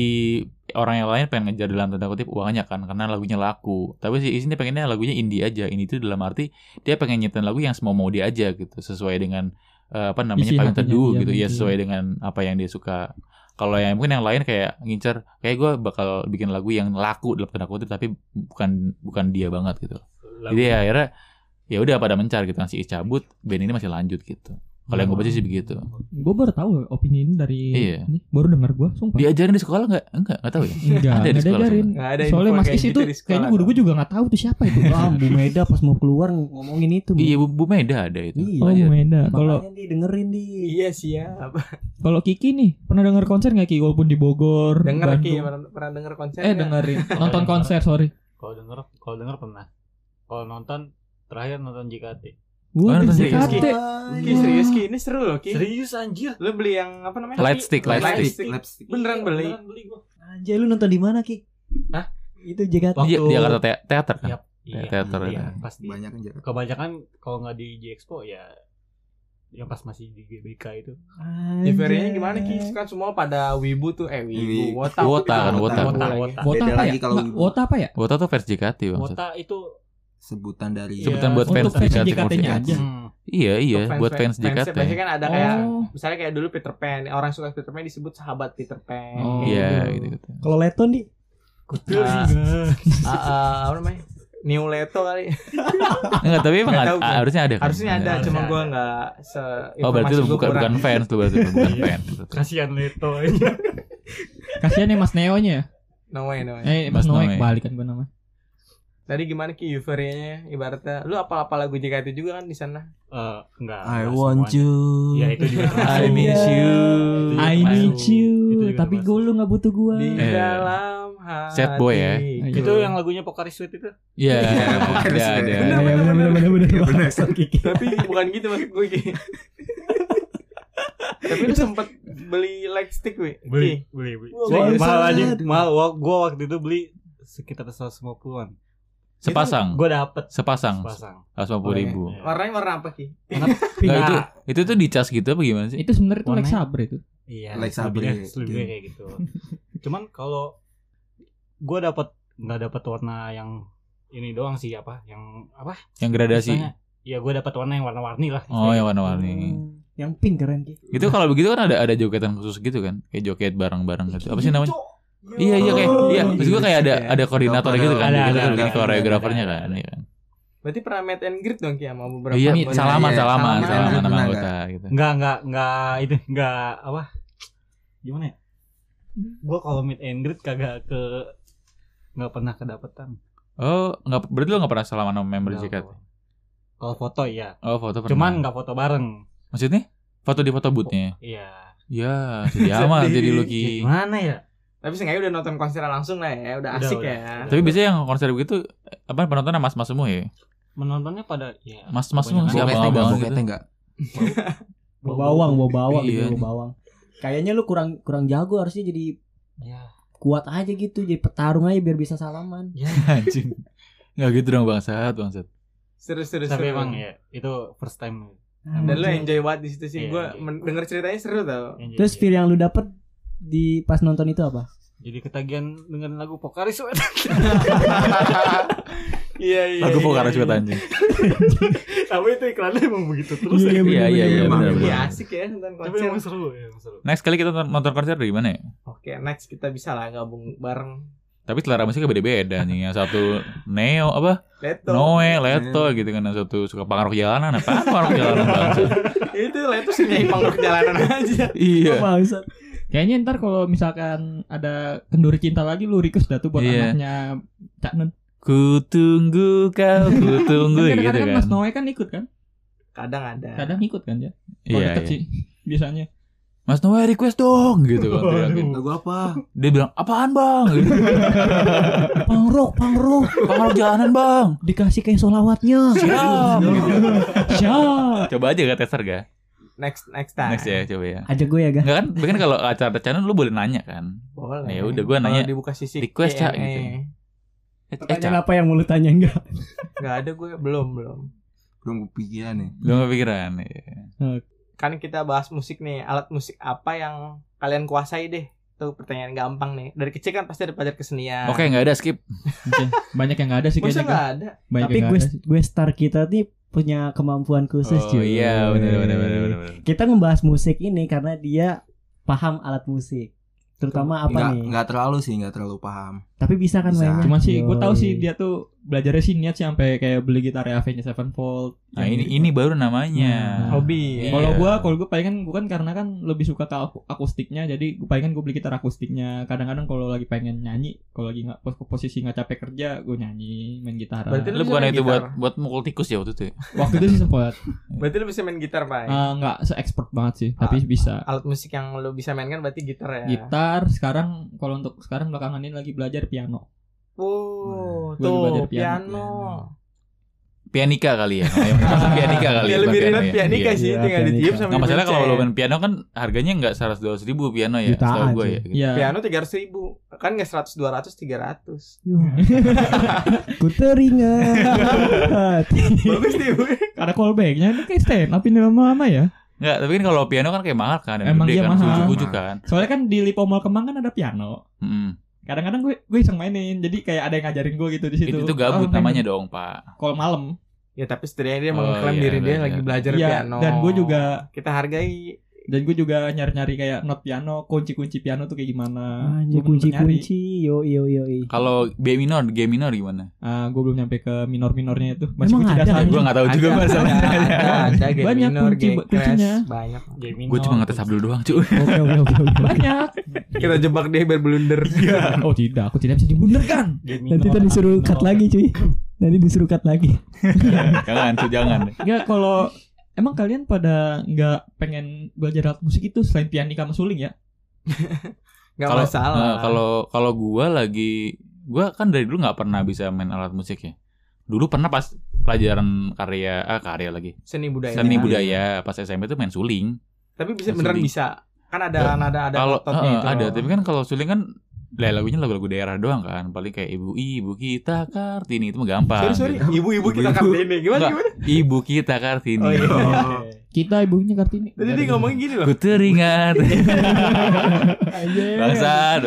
S3: orang yang lain pengen ngejar dalam tanda kutip uangnya kan karena lagunya laku tapi si Is ini pengennya lagunya indie aja ini tuh dalam arti dia pengen nyetain lagu yang semau mau dia aja gitu sesuai dengan eh, apa namanya
S2: Isi
S3: payung
S2: hatinya iya,
S3: teduh
S2: dia
S3: gitu ya
S2: mungkin.
S3: sesuai dengan apa yang dia suka kalau yang mungkin yang lain kayak ngincer kayak gue bakal bikin lagu yang laku dalam tanda kutip tapi bukan bukan dia banget gitu
S6: Lagu-
S3: jadi ya, akhirnya ya udah pada mencar gitu kan si Is cabut, band ini masih lanjut gitu. Kalau yang gue baca
S2: Hmm.
S3: sih begitu.
S2: Gua baru tahu loh opini ini dari
S3: Iya.
S2: ini, baru dengar gua, sumpah.
S3: Diajarin di sekolah nggak? Enggak, nggak tahu ya.
S2: Enggak,
S3: Ada di
S2: enggak
S3: sekolah
S2: diajarin.
S1: Nggak ada
S2: Soalnya
S1: info
S2: Mas
S1: kayak
S2: Is
S1: gitu
S2: itu
S1: di sekolah.
S2: kayaknya guru gua juga nggak tahu tuh siapa itu.
S4: Wah, Bu Meda pas mau keluar ngomongin itu
S3: Iya, Bu, Bu Meda ada itu.
S4: Iya.
S2: Oh,
S3: Belajar.
S2: beda. Kalau
S4: kalau di dengerin di
S1: Iya siap.
S2: kalau Kiki nih, pernah dengar konser nggak Ki walaupun di Bogor,
S1: Denger
S2: Bandung?
S1: Ki, pernah, pernah denger konser
S2: Eh,
S1: nggak?
S2: dengerin. Nonton konser, sorry.
S6: Kalau denger, kalau denger pernah. Kalau nonton terakhir nonton JKT.
S3: Oh,
S2: Gua
S3: nonton
S2: nonton
S3: serius,
S2: JKT.
S1: Ki. Ki serius Ki, ini seru loh Ki.
S6: Serius anjir.
S1: Lu beli yang apa namanya?
S3: Light
S1: Ki?
S3: stick, light
S5: Lipstick,
S1: stick.
S5: lipstick.
S1: Beneran beli.
S6: Beneran Kan beli gua.
S4: anjay lu nonton di mana Ki
S6: Hah?
S4: itu JKT
S3: Di
S6: Waktu-
S3: di Jakarta Te- Teater kan.
S6: Iya, Iya,
S3: Teater ya.
S6: iya,
S3: ada.
S6: pasti.
S5: Banyak kan jarak.
S6: Kebanyakan kalau nggak di J Expo ya yang pas masih di GBK itu.
S3: Iya.
S4: Iya.
S1: Difernya Ya, gimana Ki? Kan semua pada wibu tuh, eh wibu,
S5: Wibu.
S1: wota.
S3: Wota kan, wota.
S1: Wota,
S6: Wota,
S1: wota.
S2: Wota
S5: Beda
S2: apa ya?
S5: lagi kalau
S2: Nggak,
S5: Wibu.
S2: Wota apa ya?
S3: Wota tuh versi JKT maksud.
S6: Wota itu
S5: Sebutan dari
S6: Sebutan
S3: Bukan buat
S2: Untuk
S3: fans
S2: fans
S3: JKT,
S2: JKT-nya
S3: buat
S2: aja.
S3: fans.
S6: hmm,
S3: Iya, iya,
S1: Untuk
S3: buat fans JKT.
S1: Biasanya kan ada kayak
S2: Oh.
S1: Misalnya kayak dulu Peter Pan, orang yang suka Peter Pan disebut sahabat Peter Pan.
S2: Oh.
S1: Kayak
S3: Iya,
S1: gitu.
S3: gitu gitu.
S4: kalau Leton di
S6: kutil
S1: Ah.
S6: juga.
S1: Ah, ah, apa namanya? New Leto kali.
S3: Enggak, tapi emang
S1: Nggak tahu
S3: ada-
S1: gua.
S3: harusnya ada. kan?
S1: Harusnya ada,
S6: Harusnya
S1: cuma
S6: ada.
S1: gue nggak se
S3: Oh, berarti lu
S1: informasi gua
S3: bukan
S1: kurang.
S3: bukan fans lu berarti bukan
S6: Iya.
S3: fans.
S6: Kasihan Leto aja.
S2: Kasihan ya Mas Neo-nya ya.
S1: No way, no way.
S2: Eh, Mas
S3: Mas
S2: Noe
S3: Noe.
S2: balikan gua nama.
S1: Tadi gimana ki euforianya ya, ibaratnya lu apa apa lagu JKT juga kan di sana.
S6: Eh, enggak.
S5: I
S6: enggak
S5: want
S6: semuanya.
S5: you.
S1: Iya,
S6: Ya itu juga.
S3: I
S6: termasuk.
S3: miss you.
S2: Iya. I
S6: Itu
S2: need
S6: juga
S2: you,
S6: termasuk.
S2: tapi gue lu nggak butuh gua.
S1: Di
S3: Eh.
S1: dalam hati.
S3: Sad boy ya?
S6: Itu yang lagunya Pocari Sweat itu.
S3: Iya,
S5: bukan
S3: ada
S5: sih.
S3: ada.
S4: Iya, bener bener bener bener
S5: bener.
S4: Bangsat, Ki.
S1: Tapi bukan gitu maksud gue Ki. Tapi lu sempet beli light stick wi.
S6: Beli, beli, beli.
S4: Wah,
S6: Serius.
S4: bangsat.
S6: Mahal aja. Mahal. Wa- Gua waktu itu beli sekitar 150-an.
S3: Sepasang.
S6: Gua dapet
S3: Sepasang,
S6: sepasang.
S3: 150 ribu.
S6: Iya.
S1: Warnanya warna apa ki?
S3: Nah, itu itu tuh dicas gitu apa gimana sih?
S2: Itu sebenarnya tuh
S6: Warna-
S2: Lex Sabre itu.
S6: Iya,
S5: Like
S6: selebihnya,
S5: Sabre,
S6: selebihnya
S5: gitu.
S6: kayak gitu. Cuman kalau gue dapat nggak dapat warna yang ini doang sih apa? Yang apa?
S3: Yang gradasi.
S6: Misalnya, Ya gue dapat warna yang warna-warni lah.
S3: Oh,
S6: istilahnya.
S3: yang warna-warni.
S1: Yang pink keren Ki.
S3: Itu kalau begitu kan ada ada jogetan khusus gitu kan. Kayak joget bareng-bareng gitu. Apa sih namanya?
S1: Cok.
S3: Iya iya kayak iya. Maksud gue kayak ada
S5: Iya.
S3: ada koordinator
S5: Ada,
S3: gitu kan.
S6: ada,
S3: Kita
S6: ada,
S3: tuh bikin
S6: ada,
S3: koreografernya
S6: ada,
S3: kan.
S6: ada.
S3: iya kan.
S1: Berarti pernah meet and greet dong Ki sama beberapa
S3: Iya,
S1: anggota.
S3: salaman salaman
S5: iya, salaman,
S3: salaman sama
S5: benar,
S3: anggota gitu.
S6: Enggak, enggak, enggak itu enggak apa? Gimana ya? Gua kalau meet and greet kagak ke enggak pernah kedapetan.
S3: Oh, enggak berarti lo enggak pernah salaman sama member
S6: Nggak
S3: JKT.
S6: apa-apa. Kalau foto iya.
S3: Oh, foto pernah.
S6: Cuman enggak foto bareng.
S3: maksudnya foto di foto boothnya.
S6: Iya.
S3: Ya, sedih amat
S1: Sedih.
S3: jadi
S6: Ya,
S3: Lucky.
S6: gimana ya?
S1: Tapi seenggaknya udah nonton konser langsung lah ya, udah
S6: Udah,
S1: asik
S6: udah.
S1: ya.
S3: Tapi biasanya yang konser begitu apa penontonnya mas-mas semua ya?
S6: Menontonnya pada ya
S3: Mas-mas semua
S6: kebanyakan
S3: nggak
S5: Boketnya
S3: abang-abang
S5: enggak,
S3: gitu.
S5: boketnya enggak.
S4: Bawa bawang, bawa bawang
S3: Iya nih.
S4: gitu, bawa bawang. Kayaknya lu kurang kurang jago harusnya jadi
S6: Ya.
S4: kuat aja gitu, jadi petarung aja biar bisa salaman.
S3: Anjing. Enggak gitu dong bangsat, bangsat.
S1: Seru seru seru.
S6: Tapi emang ya itu first time.
S3: Nah,
S4: Hmm.
S1: Dan lu
S6: Iya.
S1: enjoy banget di situ sih.
S6: Iya,
S1: Gua
S6: iya.
S1: men- denger ceritanya seru tau.
S6: Yang
S4: Terus
S6: jadi,
S4: feel yang lu dapet di pas nonton itu apa?
S6: jadi ketagihan dengan lagu Pokari Sweat.
S1: Iya iya.
S3: Lagu
S1: iya,
S3: pokara
S1: iya.
S3: juga anjing.
S6: Tapi itu iklannya emang begitu terus.
S4: Iya,
S6: ya.
S3: Iya iya iya
S5: Emang.
S3: benar
S1: Iya
S3: benar.
S1: asik ya nonton
S6: Tapi
S1: konser.
S6: emang seru, ya, emang seru.
S3: Next kali kita nonton konser dari mana ya?
S1: Oke, next kita bisa lah gabung bareng.
S3: Tapi selera musiknya beda-beda nih. Yang satu Neo apa?
S1: Leto.
S3: Noe, Leto gitu kan. Yang satu suka pengaruh jalanan. Apa pengaruh jalanan bangsat?
S1: Itu Leto sih nyanyi pengaruh jalanan aja.
S3: Iya.
S4: Apa, Ustaz?
S2: Kayaknya ntar kalau misalkan ada kenduri cinta lagi lu request dah tuh buat
S3: Iya.
S2: anaknya Cak Nun.
S3: Ku tunggu kau, ku tunggu
S2: Kan
S3: gitu
S2: kadang-kadang
S3: kan.
S2: Mas Noe kan ikut kan?
S1: Kadang ada.
S2: Kadang ikut kan ya. Kalau
S3: Iya.
S2: deket
S3: iya.
S2: sih biasanya.
S3: Mas Noe request dong gitu kan. teriakin.
S5: Lagu apa?
S3: Dia bilang, "Apaan, Bang?" Gitu.
S4: Pangrok, pangrok,
S3: Pengaruh jalanan, Bang.
S4: dikasih kayak solawatnya.
S3: Siap. gitu.
S4: Siap.
S3: Coba aja gak tester ga?
S1: Next next time.
S2: Nah.
S3: Next ya, coba ya.
S4: Ajak gue ya, Gah.
S3: Enggak kan, bahkan kalau acara channel lu boleh nanya kan.
S1: Boleh.
S3: Ya udah, gua nanya,
S1: Kalau dibuka sisi
S3: request, Cak,
S1: Q&A.
S3: gitu. Eh, eh,
S4: Pertanyaan
S3: Cak,
S4: apa yang mau lu tanya enggak?
S1: Nggak ada gue belum belum.
S5: Belum kepikiran nih.
S3: lu gak pikiran. Iya.
S2: Nah.
S1: Kan kita bahas musik nih, alat musik apa yang kalian kuasai deh? Itu pertanyaan gampang nih. Dari kecil kan pasti ada pelajar kesenian.
S3: Oke, nggak ada skip.
S2: Banyak yang nggak ada sih
S1: Masa
S2: kayaknya. Kak.
S1: nggak ada?
S2: Banyak
S4: Tapi
S2: yang nggak
S4: gue
S2: ada sih.
S4: gue star kita nih punya kemampuan khusus
S3: Oh
S4: cuy.
S3: iya, benar benar benar benar.
S4: Kita ngebahas musik ini karena dia paham alat musik. Terutama apa
S5: Enggak,
S4: nih?
S5: enggak terlalu sih, enggak terlalu paham.
S4: Tapi bisa kan
S5: Bisa.
S4: mainnya?
S2: Cuman sih gue tahu
S4: Yoi.
S2: sih dia tuh belajarnya sih niat sih sampai kayak beli gitar Avenged Sevenfold.
S3: Nah,
S2: Yang
S3: ini
S2: gitu.
S3: ini baru namanya.
S2: Nah.
S1: Hobi.
S3: Iya.
S1: ya?
S2: Kalau gua kalau gue palingan gue kan karena kan lebih suka ke aku- akustiknya jadi gue palingan gue beli gitar akustiknya kadang-kadang kalau lagi pengen nyanyi kalau lagi nggak pos posisi nggak capek kerja gue nyanyi main gitar
S1: Berarti Lu
S3: Lu
S1: gitu,
S3: bukan
S1: main
S3: itu
S1: gitar.
S3: buat buat mukul tikus ya waktu itu. ya?
S2: waktu itu sih sempat
S1: Berarti lu bisa main gitar, Pak.
S3: Ah,
S2: eh, nggak se expert banget sih tapi bisa
S1: alat musik yang lu bisa mainkan berarti gitar
S3: Iya.
S1: ya.
S2: gitar sekarang kalau untuk sekarang belakangan ini lagi belajar piano
S3: Nah,
S1: Oh,
S2: Gua juga
S1: tuh
S2: belajar piano.
S1: piano.
S3: Pianika kali ya. Namanya pianika
S1: Ya
S3: kali. bukan
S1: lebih
S3: piano
S1: relate
S3: ya.
S1: pianika
S3: Iya.
S1: sih,
S4: Iya,
S1: tinggal
S4: pianika.
S1: ditiup sama
S3: Nggak masalah kalau lo
S1: dipencet.
S3: main piano kan harganya nggak seratus dua ribu piano ya,
S4: Jutaan
S3: setahu gue
S4: sih.
S3: ya. gitu.
S2: ya
S1: Piano tiga ratus ribu, kan nggak seratus dua ratus
S3: Iya.
S1: tiga ratus.
S4: Yuh. Ku teringat.
S1: Bagus nih, gue.
S2: karena callbacknya ini kayak stand up ini lama-lama ya
S3: Nggak, tapi kan kalau piano kan kayak mahal kan, dan
S2: Emang
S3: gede
S2: iya
S3: kan,
S2: mahal.
S3: ujuk-ujuk kan.
S2: soalnya kan di Lipo Mall Kemang kan ada piano
S3: Mm.
S2: kadang-kadang gue gue iseng mainin jadi kayak ada yang ngajarin gue gitu di situ
S3: Itu tuh
S2: Oh,
S3: gabut
S2: main-
S3: namanya dong pak.
S2: kalau malam
S1: Ya tapi setidaknya dia
S3: Oh,
S1: mengklaim
S3: iya,
S1: diri dia
S3: belajar.
S1: lagi belajar
S2: Iya,
S1: piano.
S2: dan gue juga-
S1: kita hargai.
S2: dan gue juga nyari-nyari kayak not piano kunci-kunci piano tuh kayak gimana
S4: Anjir
S2: Gua belum nyari.
S4: kunci-kunci. Yo yo yo. yo.
S3: Kalau B minor, G minor gimana?
S2: ah gue belum nyampe ke minor-minornya itu masih
S4: Emang
S2: kunci
S4: ada?
S2: dasarnya
S4: Anjing.
S3: gue nggak tahu juga
S1: ada,
S3: masalah.
S1: ada, ada, ada, G
S2: Banyak
S1: minor,
S2: kunci-
S1: G crash,
S2: kuncinya.
S1: banyak.
S3: Gue cuma ngetes Abdul doang cuy.
S4: Oke oke oke oke.
S2: banyak
S1: Kita jebak dia biar blunder.
S3: Iya.
S2: oh tidak aku tidak bisa dibunderkan
S4: Nanti tadi disuruh cut lagi cuy. Nanti disuruh cut lagi.
S2: Iya.
S3: jangan cuy jangan.
S2: Enggak kalau emang kalian pada nggak pengen belajar alat musik itu selain pianika sama suling ya
S1: Gak
S3: Kalau- Nah,
S1: masalah.
S3: Kalau kalau gue lagi, gue kan dari dulu nggak pernah bisa main alat musik ya. Dulu pernah pas pelajaran karya, ah karya lagi.
S1: seni budaya. Iya.
S3: Seni budaya pas SMP tuh main suling.
S1: Tapi bisa
S3: Seni.
S1: beneran bisa. Kan ada gitu. nada ada
S3: kalau
S1: ototnya
S3: eh,
S1: itu
S3: ada
S1: loh.
S3: tapi kan kalau suling kan lah, lagunya lagu-lagu daerah doang kan paling kayak ibu ibu kita kartini itu mah gampang
S1: Sorry sorry,
S3: gitu.
S1: Ah. ibu-ibu kita kan ini gimana
S3: Nggak.
S1: gimana?
S3: ibu kita kartini
S1: Oh, iya.
S2: kita ibunya kartini
S1: Tadi dia ngomongin gini loh.
S3: ku teringat bangsa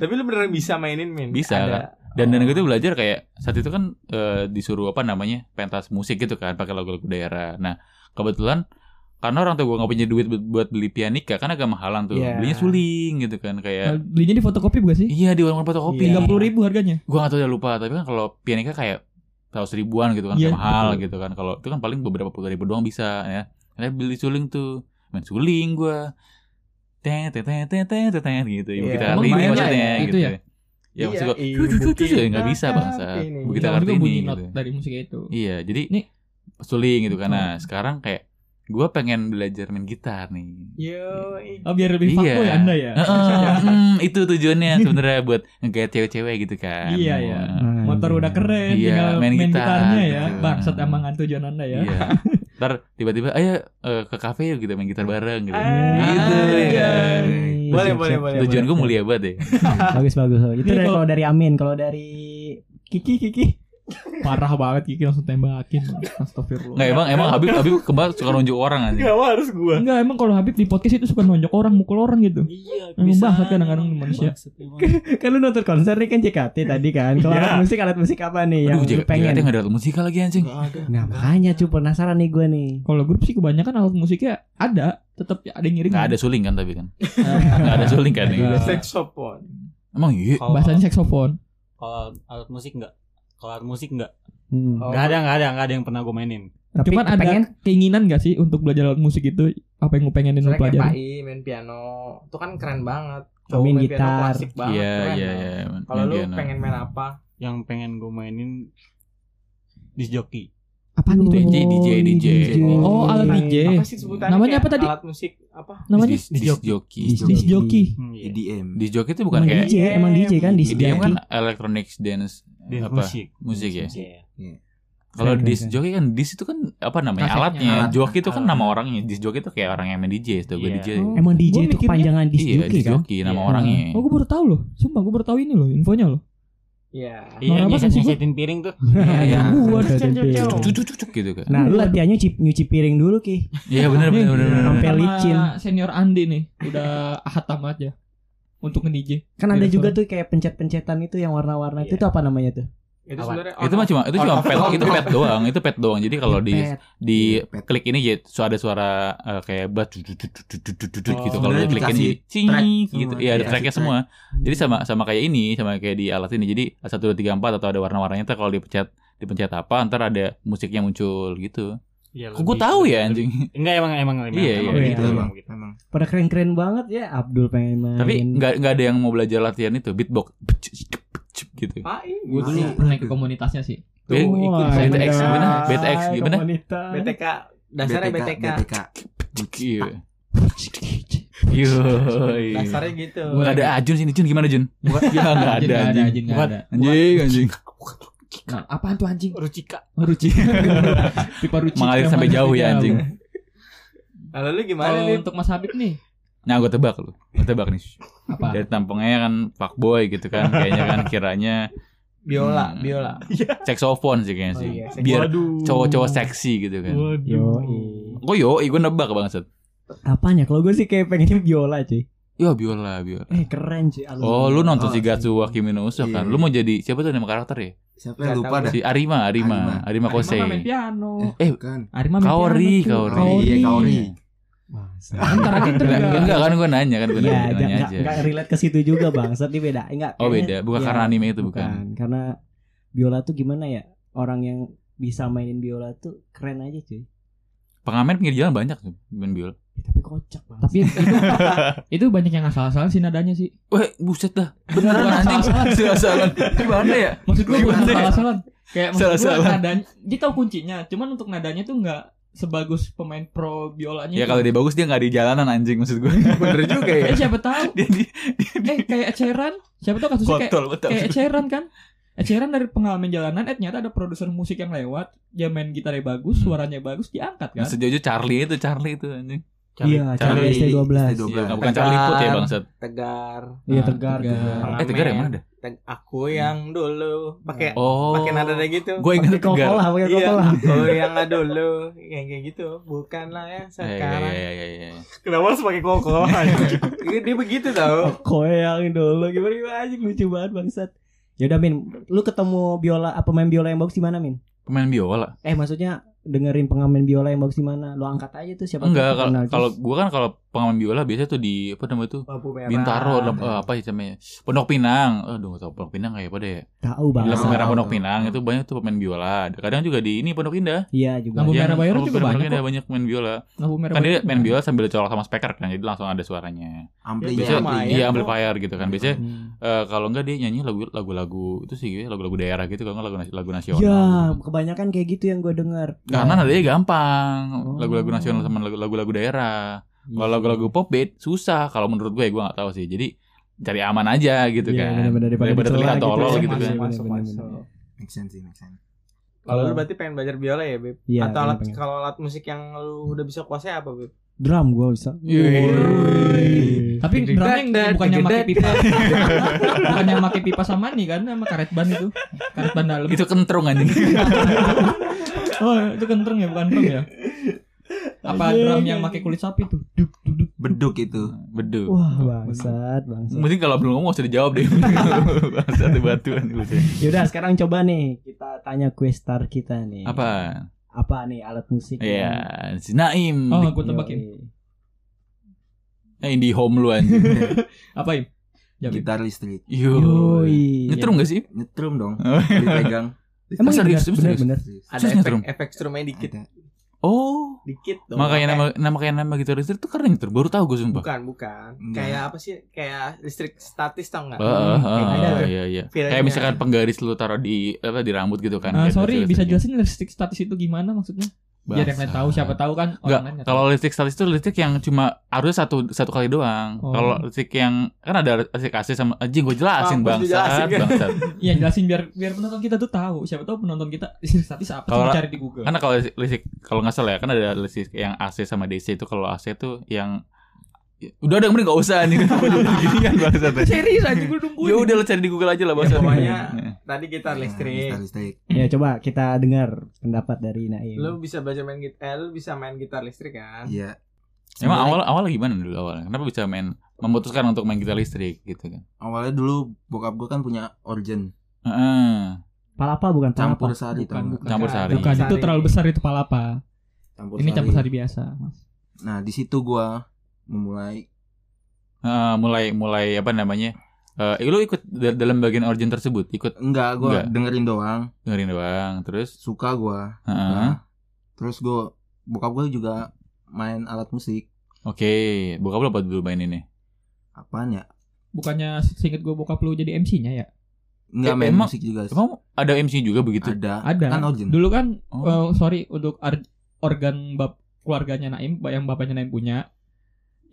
S1: Tapi lu beneran bisa mainin min?
S3: Bisa,
S1: Ada.
S3: dan dan gue tuh belajar kayak saat itu kan eh, disuruh apa namanya pentas musik gitu kan pakai lagu-lagu daerah nah kebetulan karena orang tua gue nggak punya duit buat- buat beli pianika karena agak mahalan tuh
S1: Iya.
S3: belinya suling gitu kan
S2: Nah,
S3: kayak
S2: belinya di fotokopi bukan sih?
S3: iya di warung fotokopi
S1: Iya.
S2: Tiga puluh ribu harganya.
S3: gue nggak tahu ya lupa tapi kan kalau pianika kayak seratus ribuan gitu kan
S2: Iya,
S3: kayak mahal
S2: betul.
S3: gitu kan kalau itu kan paling beberapa puluh ribu doang bisa ya karena beli suling tuh main suling gue teng teng teng teng teng teng teng gitu ibu
S1: Iya,
S3: kita
S1: emang
S3: kartini
S1: main
S3: maksudnya
S2: lah ya,
S3: gitu
S2: itu
S3: ya
S2: ya?
S3: ya maksud gue
S1: Iya,
S3: tuh tuh tuh
S1: Ibu
S3: tuh nggak bisa
S1: kita
S3: bangsa
S1: Kartini.
S3: ibu kita
S2: Iya, maksudnya
S3: kartini
S2: bunyi
S3: gitu
S2: not dari musik itu.
S3: iya jadi
S2: Ini
S3: suling gitu kan nah sekarang kayak gue pengen belajar main gitar nih
S2: Iya.
S1: Yo,
S2: Oh, biar lebih
S3: Iya.
S2: fuckboy Anda ya.
S3: Heeh, mm, itu tujuannya sebenarnya buat ngegait cewek-cewek gitu kan.
S2: Iya, iya.
S3: Heeh.
S2: Motor udah keren,
S3: Iya,
S2: tinggal
S3: main
S2: main,
S3: gitar,
S2: gitarnya ya.
S3: gitu.
S2: Bangsat emang tujuan Anda ya.
S3: Iya. Ntar tiba-tiba ayo eh, ke kafe yuk gitu main gitar bareng gitu.
S1: Ah,
S3: gitu ya
S1: iya.
S3: kan.
S1: Boleh, boleh,
S4: iya,
S1: boleh.
S3: Tujuan
S1: boleh.
S3: gue mulia banget ya.
S4: bagus bagus. bagus.
S2: Ini
S4: Itu dari
S2: kalau-
S4: kalau dari Amin, kalau dari Kiki Kiki.
S2: Parah banget Kiki langsung tembakin. Astagfirullah.
S3: Nggak emang emang Habib Habib kebal suka nunjuk orang anjing.
S6: Gak harus gua.
S2: Enggak, emang kalau Habib di podcast itu suka nonjok orang, mukul orang gitu.
S6: Iya,
S2: Emang bangsat kadang-kadang manusia.
S4: Kan lu nonton konser nih kan JKT tadi kan. Kalau alat musik alat musik apa nih Iya, yang
S3: Aduh,
S4: lu
S3: JKT
S4: pengen?
S3: nggak ada alat musika lagi anjing.
S4: Nah makanya cuy penasaran nih gue nih.
S2: Kalau grup sih kebanyakan alat musiknya ada, tetap ada yang ngirim.
S3: Nggak ada suling kan tapi kan. Nggak ada suling
S1: Iya.
S3: kan. ya?
S2: Nggak.
S1: Saxophone.
S3: Emang iya.
S2: Bahasanya saksofon.
S6: kalau alat musik enggak? Kalau alat musik enggak?
S4: Hmm.
S1: Oh.
S6: Enggak ada, enggak ada, enggak ada yang pernah gua mainin.
S4: Tapi
S2: Cuman ada
S4: pengen
S2: keinginan gak sih untuk belajar alat musik itu? Apa yang lu pengenin lu
S1: Misalnya kayak
S2: pelajari?
S1: Pai main piano, itu kan keren banget.
S4: Oh, main gitar.
S1: klasik banget.
S3: Iya
S1: keren
S3: iya
S1: loh.
S3: iya.
S1: Kalau
S3: Main
S1: lu
S3: piano.
S1: pengen main apa?
S6: Yang pengen gua mainin disc jockey.
S4: apa gitu?
S3: DJ, DJ, DJ.
S2: Oh,
S4: Iya.
S2: alat DJ.
S1: Apa sih sebutannya?
S2: Namanya
S1: Kayak
S2: apa tadi?
S1: Alat musik apa?
S2: Namanya
S3: Disc- disc jockey.
S4: Disc
S2: disc jockey.
S6: Hmm, iya.
S5: EDM
S3: Disc jockey itu bukan
S4: Bukan
S3: kayak
S4: DJ, emang DJ kan di
S3: EDM kan electronic dance
S6: Dance
S3: apa
S6: musik.
S3: musik ya.
S6: Iya.
S3: Kalau
S4: Keren,
S3: disc
S4: keren.
S3: jockey kan disc itu kan apa namanya
S2: Kasetnya.
S3: alatnya,
S5: Alat.
S3: joki itu kan
S6: Alat.
S3: nama orangnya, disc jockey itu kayak orang yang main DJ, itu gue
S6: Iya.
S3: DJ.
S2: Oh,
S4: Emang
S2: Gua
S4: DJ itu
S2: mikirnya-
S4: kepanjangan disc
S3: iya,
S4: jockey
S3: disc
S4: kan?
S3: jockey nama
S6: Iya.
S3: orangnya.
S2: Oh, gue baru tahu loh. Sumpah, gue baru tahu ini loh, infonya loh.
S1: Iya.
S6: Iya,
S2: Orang apa sih, gua?
S6: nyesetin piring tuh.
S3: iya.
S2: Gua ada
S3: Cuk, cuk, cuk, cuk, gitu kan.
S4: Nah, lu latihannya nyuci, nyuci piring dulu ki.
S3: Iya benar benar benar benar.
S4: Sampai
S2: Sama
S4: licin.
S2: Senior Andi nih, udah hatam aja untuk nge-DJ.
S4: Kan ada
S2: Iya,
S4: juga tuh kayak pencet-pencetan itu yang warna-warna itu
S1: Iya.
S4: tuh apa namanya tuh?
S1: Itu
S6: Apa?
S1: sebenarnya
S5: Iya.
S3: Itu mah cuma itu cuma pet, itu pet doang, itu pet doang. Jadi kalau di
S4: Pet.
S3: di
S5: Pet.
S3: klik ini jadi su- ada suara eh, kayak bat cu- cu- cu- cu- cu- cu- cu- cu- cu-
S6: Oh.
S3: gitu kalau
S5: Sebenarnya
S3: di klik ini
S5: dikasih
S3: jadi cing
S5: track
S3: gitu.
S5: semua,
S3: Iya ada
S5: dikasih
S3: tracknya
S5: track. Hmm.
S3: semua. Jadi sama sama kayak ini, sama kayak di alat ini. Jadi 1 2 3 4 atau ada warna-warnanya ntar kalau dipencet dipencet apa ntar ada musiknya muncul gitu.
S6: Iya,
S3: Kok gue
S6: lebih-
S3: tahu ya
S6: lebih-
S3: anjing.
S6: Enggak emang emang emang.
S3: Iya,
S6: emang
S3: iya,
S6: begitu,
S4: iya.
S6: emang begitu.
S5: Gitu Emang
S4: Pada keren-keren banget ya Abdul pengen main.
S3: Tapi nggak nggak ada yang mau belajar latihan itu beatbox gitu.
S1: Pai.
S2: Gue dulu
S1: Iya.
S5: Masih.
S2: pernah Nah, iya, ke komunitasnya sih.
S3: Gue ikut
S1: Wah,
S3: BTX
S1: iya.
S3: gimana? BTX gimana?
S4: BTX.
S1: BTK dasarnya BTK.
S5: BTK
S3: Iya. Yo.
S1: Dasarnya gitu.
S3: Gak ada Ajun sini Jun gimana Jun?
S2: Anjing,
S3: Ya nggak ada
S2: nggak
S3: anjing.
S2: anjing, nggak ada.
S3: Anjing anjing.
S2: Nah, apaan tuh anjing?
S6: Rucika.
S2: Ruci. Pipa ruci.
S3: Mengalir sampai jauh ya anjing.
S1: Kalau lu gimana
S2: Kalau
S1: nih?
S2: untuk Mas Habib nih,
S3: Nah gue tebak lu. Gue tebak nih.
S2: apa?
S3: Dari tampangnya kan fuckboy gitu kan. Kayaknya kan kiranya
S1: Biola,
S3: Hmm.
S1: biola.
S3: seksofon sih kayaknya
S1: Oh,
S3: sih.
S1: iya, seksofon.
S3: Biar
S6: Waduh.
S3: cowok-cowok seksi gitu kan.
S6: Waduh.
S4: Yo.
S3: Gue yo, gue nebak banget.
S4: Apanya? Kalau gue sih kayak pengennya biola cuy.
S3: Yo biola biola.
S4: Eh keren cuy. alunan.
S3: Oh lu nonton si
S5: Oh,
S3: Gatsu wa Kimi no Uso
S5: Iya,
S3: kan?
S5: iya.
S3: Lu mau jadi siapa tuh nama karakter ya?
S5: Siapa
S1: Nggak
S5: yang lupa
S1: tahu.
S5: dah
S3: Si Arima, Arima, Arima
S2: Arima
S3: Kose. Eh,
S2: mah main piano.
S5: Kan
S2: Arima main
S3: Kaori,
S2: piano
S3: Kaori.
S2: tuh.
S5: Iya Kaori
S4: Bangsat.
S2: Ntar aja ntar
S3: Enggak,
S2: nggak-
S3: enggak kan gue nanya kan gue
S4: Iya,
S3: nanya, nanya
S4: enggak
S3: aja.
S4: enggak relate ke situ juga bangsat ini beda. Enggak.
S3: Oh
S4: kayaknya-
S3: beda, bukan
S4: Iya,
S3: karena anime itu bukan.
S4: Karena biola tuh gimana ya? Orang yang bisa mainin biola tuh keren aja cuy.
S3: Pengamen pinggir jalan banyak tuh main biola.
S4: Ya, tapi kocak banget.
S2: Tapi itu, itu banyak yang asal-asalan sih nadanya sih.
S3: Wah buset dah, beneran anjing. Salah-salah. Gimana ya?
S2: Maksud gua bukan
S3: Gimana ya?
S2: asal-asalan. Kayak maksud
S3: Salah-salah.
S2: gua nadanya, dia tahu kuncinya, cuman untuk nadanya tuh enggak sebagus pemain pro biolanya.
S3: Ya
S2: itu.
S3: kalau dia bagus dia nggak di jalanan anjing maksud gue. Bener juga ya.
S2: Eh siapa tahu?
S3: Dia di
S2: Eh kayak Eceran, siapa tahu kasusnya kayak
S3: kontol betul.
S2: kayak Eceran kan? Eceran dari pengalaman jalanan, eh ternyata ada produser musik yang lewat, dia main gitarnya bagus,
S3: Hmm.
S2: suaranya bagus, diangkat kan?
S3: Sejauh Charlie itu Charlie itu anjing.
S4: Iya, Charlie ST12.
S3: Iya, nggak,
S5: ST12
S3: bukan Charlie Put ya
S1: Tegar.
S3: bangsat.
S1: Tegar.
S4: Iya,
S2: Ah,
S4: tegar.
S2: tegar.
S4: tegar.
S3: Eh tegar yang mana dah?
S1: Teg- aku yang dulu pakai
S3: Hmm. Oh.
S1: pakai nada gitu.
S3: Gue inget
S4: Pakai
S3: tegar.
S4: kokolah, pakai
S1: Iya,
S4: kokolah.
S1: aku yang nggak dulu kayak kayak gitu, bukanlah yang
S3: Iya, iya,
S1: sekarang.
S3: iya, iya, iya.
S6: Kenapa harus pakai koko? anjing?
S1: Iya, Dia begitu tau.
S4: Koyang dulu gimana gimana aja lucu banget bangsat. Ya udah Min, lu ketemu biola apa main biola yang bagus di mana Min?
S3: Pemain biola.
S4: Eh maksudnya dengerin pengamen biola yang bagus di mana lu angkat aja tuh siapa
S3: Enggak
S4: tahu
S3: kalau
S4: kenal.
S3: kalau gua kan kalau pengamen biola biasanya tuh di apa namanya tuh
S1: Lampu merah.
S3: Bintaro lam- eh, apa sih namanya Pondok Pinang aduh gak tau Pondok Pinang kayak pada ya
S4: tahu
S3: di
S4: banget
S3: Lampu Merah Pondok
S5: Tahu.
S3: Pinang itu banyak tuh pemain biola kadang juga di ini Pondok Indah
S4: iya juga
S2: Lampu
S3: Yang
S2: merah Bayron
S3: Pondok
S2: juga
S3: Merah
S2: banyak
S3: Bayron ada banyak main biola
S2: Lampu merah
S3: kan dia
S2: Bayron
S3: main
S2: juga
S3: biola sambil dicolok sama speaker kan jadi langsung ada suaranya
S5: Amplinya
S3: biasanya
S1: Sama, ya.
S3: iya amplifier gitu kan biasanya
S4: Hmm.
S3: eh, kalau enggak dia nyanyi lagu- lagu-lagu itu sih gitu, lagu-lagu daerah gitu kalau enggak lagu, lagu nasional
S4: Ya,
S3: gitu.
S4: kebanyakan kayak gitu yang gue dengar. Nah,
S3: karena nadanya gampang
S4: Iya. Oh.
S3: lagu-lagu nasional sama lagu- lagu-lagu daerah Kalau lagu-lagu pop beat susah kalau menurut gue gue nggak tahu sih. Jadi cari aman aja gitu
S4: Iya,
S3: kan.
S4: benar-benar, daripada dicela
S3: terlihat
S4: gitu,
S3: tolol
S4: ya.
S3: gitu kan.
S1: Masuk, masuk,
S4: Bener-bener.
S1: masuk.
S5: Make sense sih, make sense.
S1: Kalau lu berarti pengen belajar biola ya, Beb?
S4: Iya,
S1: Atau alat
S4: pengen- pengen.
S1: kalau alat musik yang lu udah bisa kuasai apa, Beb?
S4: drum gue bisa.
S2: Iya. Wih. Tapi
S1: Deg-degan,
S2: drumnya yang
S1: deg-degan.
S2: bukannya pakai pipa. bukannya pakai pipa sama nih kan sama karet ban itu. Karet ban dalam.
S3: Itu kentrung anjing.
S2: Oh, itu kentrung ya bukan drum ya? Apa drum yang pakai kulit sapi tuh? Duk duk duk.
S5: Beduk itu.
S3: Bedu.
S4: Wah, bangsat, bangsat.
S3: Mungkin kalau belum ngomong usah dijawab deh. Satu batuan gitu.
S4: Yaudah, sekarang coba nih kita tanya questar kita nih.
S3: Apa?
S4: Apa nih alat musik?
S3: Iya, si Naim.
S2: Oh,
S4: Gue
S2: gue tebakin.
S3: Eh, di home lu anjing.
S2: Apa im? Ya, Im.
S5: Gitar listrik.
S3: Yo.
S2: Iya.
S3: Nyetrum gak sih?
S5: Nyetrum dong.
S3: Oh.
S5: Dipegang.
S4: Emang
S3: Masa
S4: iya
S3: serius,
S4: bener,
S3: serius?
S4: bener, bener.
S5: Serius.
S1: Ada
S3: Terus nyetrum?
S1: efek, efek strumnya dikit,
S5: Ada.
S3: Oh.
S1: dikit dong.
S3: Makanya
S1: Eh,
S3: nama nama kayak nama gitaris itu keren tuh. Baru tahu gue sumpah.
S1: Bukan, bukan.
S5: Enggak.
S1: Kayak apa sih? Kayak listrik statis tau nggak?
S3: Heeh,
S1: Kayak ada
S3: heeh,
S1: tuh.
S3: iya iya.
S1: Feelnya.
S3: Kayak misalkan penggaris lu taruh di apa di rambut gitu kan.
S2: Ah,
S3: Kayak
S2: sorry,
S3: garis-
S2: bisa
S3: garisnya.
S2: jelasin listrik statis itu gimana maksudnya? Biar yang lain tahu,
S3: Basah.
S2: siapa tahu kan
S3: Enggak,
S2: orang lain nggak tahu.
S3: kalau listrik statis itu listrik yang cuma arusnya satu satu kali doang.
S2: Oh.
S3: Kalau listrik yang kan ada listrik AC sama anjing gue jelasin
S1: Mampus,
S3: bangsat,
S1: dijelasin, kan?
S3: bangsat.
S2: Iya, jelasin biar biar penonton kita tuh tahu. Siapa tahu penonton kita listrik statis apa
S3: Kalau- kan
S2: coba cari di Google.
S3: Karena kalau listrik kalau nggak salah ya kan ada listrik yang AC sama DC itu kalau AC tuh yang udah udah mending nggak usah nih gini kan bangsat.
S2: Serius aja gue
S3: Ya
S2: nungguin.
S3: udah lo cari di Google aja lah bangsat.
S1: pokoknya-
S3: Iya.
S1: Tadi gitar
S5: Gitar
S1: listrik.
S5: listrik.
S4: Ya, coba kita dengar pendapat dari
S3: Iya.
S4: Naim.
S1: Lu bisa belajar main gitar, eh, lu bisa main gitar listrik kan?
S5: Iya.
S3: Emang
S5: Sebenarnya
S3: awal awal gimana dulu awalnya? Kenapa bisa main memutuskan untuk main gitar listrik gitu kan?
S5: awalnya dulu bokap gue kan punya organ
S3: Heeh.
S4: Palapa bukan
S5: campur
S4: palapa.
S5: sari
S2: Bukan,
S5: tau nggak?
S2: bukan.
S3: Campur sari.
S2: Bukan itu
S1: Sari.
S2: terlalu besar itu palapa.
S5: Campur
S2: Ini
S5: sari.
S2: campur sari biasa, Mas.
S5: Nah, di situ gua memulai
S3: Heeh, mulai mulai apa namanya? Eh, lu ikut da- dalam bagian origin tersebut, ikut
S5: enggak gua
S3: Enggak.
S5: dengerin doang,
S3: dengerin doang, terus
S5: suka gua.
S3: Heeh.
S5: Nah, terus gua bokap gue juga main alat musik.
S3: Oke, bokap lo apa dulu main ini?
S5: Apaan ya?
S2: Bukannya singkat gue bokap lu jadi MC-nya ya?
S5: Enggak
S3: Eh,
S5: main
S3: emang-
S5: musik juga. sih.
S3: Emang gitu? Ah. ada MC juga begitu?
S5: Ada.
S2: Ada.
S5: Kan organ.
S2: Dulu kan
S3: Oh.
S2: eh, sorry untuk ar- organ bab keluarganya Naim yang bapaknya Naim punya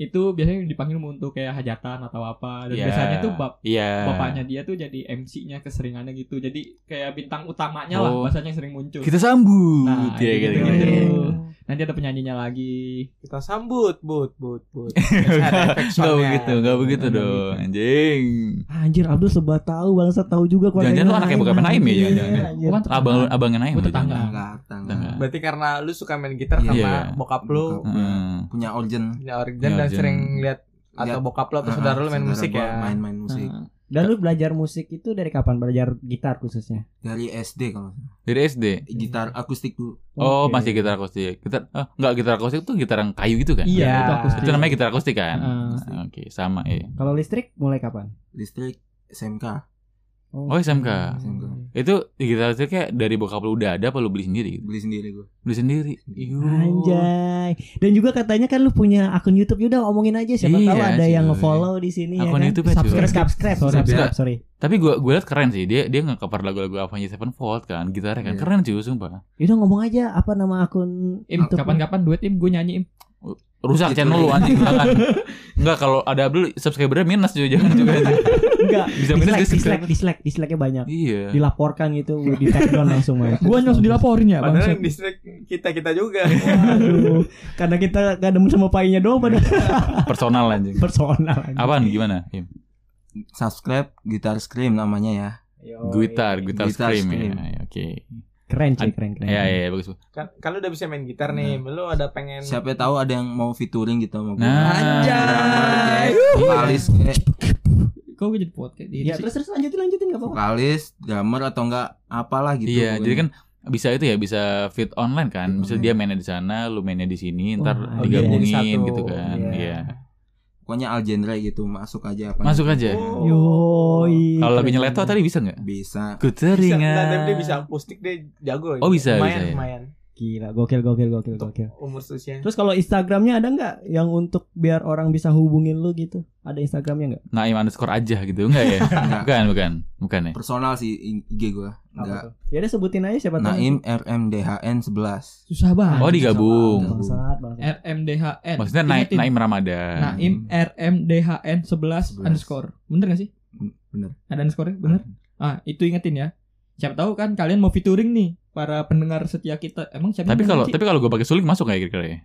S2: itu biasanya dipanggil untuk kayak hajatan atau apa dan
S3: Iya.
S2: biasanya tuh bap
S3: Iya.
S2: bapaknya dia tuh jadi MC-nya keseringannya gitu. Jadi kayak bintang utamanya lah
S3: Oh.
S2: bahasanya yang sering muncul.
S3: Kita sambut.
S2: Gitu. Nah,
S3: ya,
S2: gitu,
S3: gitu,
S2: gitu.
S3: gitu.
S4: Iya.
S2: Nanti ada penyanyinya lagi.
S1: Kita sambut, but, but, but. Ada efek
S3: Enggak
S1: soundnya.
S3: begitu, enggak begitu
S2: Nggak
S3: dong, anjing.
S4: Anjir, Abdul sebab tahu bangsa tahu juga keluarganya
S3: Jangan-jangan lu anaknya
S4: Naim.
S3: bukan Naim ya,
S4: Iya,
S3: jangan-jangan.
S4: anjir.
S2: Bukan
S3: Abang lu abangnya Naim.
S2: Gua tetangga.
S3: jangan.
S5: Enggak, tangga.
S3: Tangga.
S1: Berarti karena lu suka main gitar
S5: Iya.
S1: sama
S3: Iya.
S1: bokap lu
S5: Bokap.
S3: Heeh.
S5: Punya organ.
S1: punya organ dan
S3: Iya,
S1: sering
S3: Jen.
S1: lihat atau
S5: Lihat.
S1: bokap lu atau
S5: Ah,
S1: saudara lu main
S5: saudara
S1: musik
S5: gua
S1: ya.
S5: Main-main musik.
S2: Nah,
S4: Dan lu belajar musik itu dari kapan? Belajar gitar khususnya?
S5: Dari SD kalau
S3: Dari SD.
S5: gitar akustik dulu.
S3: Oh,
S4: Oke.
S3: masih gitar akustik. Gitar eh, enggak gitar akustik tuh gitar yang kayu gitu kan?
S2: Iya,
S1: Ya.
S2: itu aku
S3: Itu namanya gitar akustik kan?
S2: Heeh.
S3: Oke, sama ya.
S4: Kalau listrik mulai kapan?
S5: Listrik SMK.
S3: Oh, SMK.
S5: SMK.
S3: Itu gitar akustiknya dari bokap lu udah ada apa lu beli sendiri gitu?
S5: Beli sendiri gua.
S3: Beli sendiri. Yuh.
S4: Anjay. Dan juga katanya kan lu punya akun YouTube. Yaudah ngomongin aja siapa
S3: Iya,
S4: tahu ada
S3: cuy.
S4: yang nge-follow di sini
S3: Akun
S4: ya kan.
S3: YouTube ya, cuy.
S4: subscribe, subscribe,
S2: Sorry,
S4: subscribe, sorry.
S3: Tapi gua gua liat keren sih. Dia dia nge-cover lagu-lagu Avenged Sevenfold kan, gitarnya kan.
S5: Iya.
S3: Keren cuy, sumpah.
S4: Yaudah ngomong aja apa nama akun
S2: Im, kapan-kapan duet Im gue nyanyi Im.
S3: Rusak
S5: Gitu.
S3: channel lu anjing jangan. Enggak kalau ada Abdul subscribernya minus cuy, jangan juga.
S4: Enggak.
S3: Bisa minus
S4: dislike,
S3: di subscribe.
S4: dislike, dislike, dislike-nya banyak.
S3: Iya.
S4: Dilaporkan gitu, di take down langsung Mas.
S2: Gue langsung dilaporin ya,
S1: Padahal
S2: bangsat.
S1: yang distrik kita kita juga.
S4: Waduh, karena kita gak demen sama painya doang pada
S3: Iya. Personal anjing.
S4: personal. aja.
S3: Apaan gimana? Im?
S5: Subscribe Gitar Scream namanya ya.
S3: Gitar, gitar,
S5: Gitar
S3: scream,
S5: scream.
S3: ya. ya, Oke.
S4: Keren sih, keren keren.
S3: Ya, ya, ya, bagus.
S1: Kan, kan lu udah bisa main gitar nih, lu ada pengen
S5: Siapa tahu ada yang mau featuring gitu sama gua.
S3: Nah.
S5: Drummer,
S1: Anjay.
S5: ya, vokalis, eh,
S2: Kok gue jadi podcast gitu
S4: Ya
S2: sih?
S4: terus terus lanjutin lanjutin gak apa-apa.
S5: vokalis, drummer atau enggak apalah gitu.
S3: Iya, jadi kan bisa itu ya bisa fit online kan bisa dia mainnya di sana lu mainnya di sini ntar
S1: iya,
S4: Wah, oh,
S1: jadi
S3: digabungin
S1: satu.
S3: gitu kan
S1: Iya.
S3: Iya.
S5: Pokoknya al genre gitu masuk aja apa gitu.
S3: masuk aja
S1: Oh.
S4: Yoi.
S3: kalau lebih nyeleto tadi bisa nggak
S5: Bisa.
S3: ku
S1: Bisa, nggak, tapi dia
S3: teringat
S1: bisa akustik dia jago. gitu.
S3: Oh, bisa,
S1: Lumayan,
S3: bisa ya.
S1: lumayan.
S4: Gila, gokil gokil gokil gokil.
S1: Umur usia.
S4: Terus kalau Instagramnya ada nggak yang untuk biar orang bisa hubungin lu gitu? Ada Instagramnya nggak?
S3: naim Nah, underscore aja gitu enggak ya
S5: Enggak.
S3: bukan bukan bukan ya
S5: Personal sih IG gua.
S4: Apa
S5: Enggak.
S4: tuh? Ya udah sebutin aja siapa
S3: Nah,
S4: tahu.
S5: Naim RMDHN 11.
S2: Susah banget.
S3: oh digabung
S4: Bangsat, bangsat.
S2: RMDHN.
S3: maksudnya naik
S2: Ingetin. Nah,
S3: naim ramadan
S2: Naim RMDHN 11
S5: 11.
S2: underscore. Bener gak sih?
S5: Bener.
S2: Ada underscore bener? Ah, itu ingetin ya. Siapa tahu kan kalian mau featuring nih para pendengar setia kita. Emang siapa
S3: tapi
S2: yang
S3: kalau
S2: benci?
S3: tapi kalau gue pakai suling masuk nggak ya kira-kira ya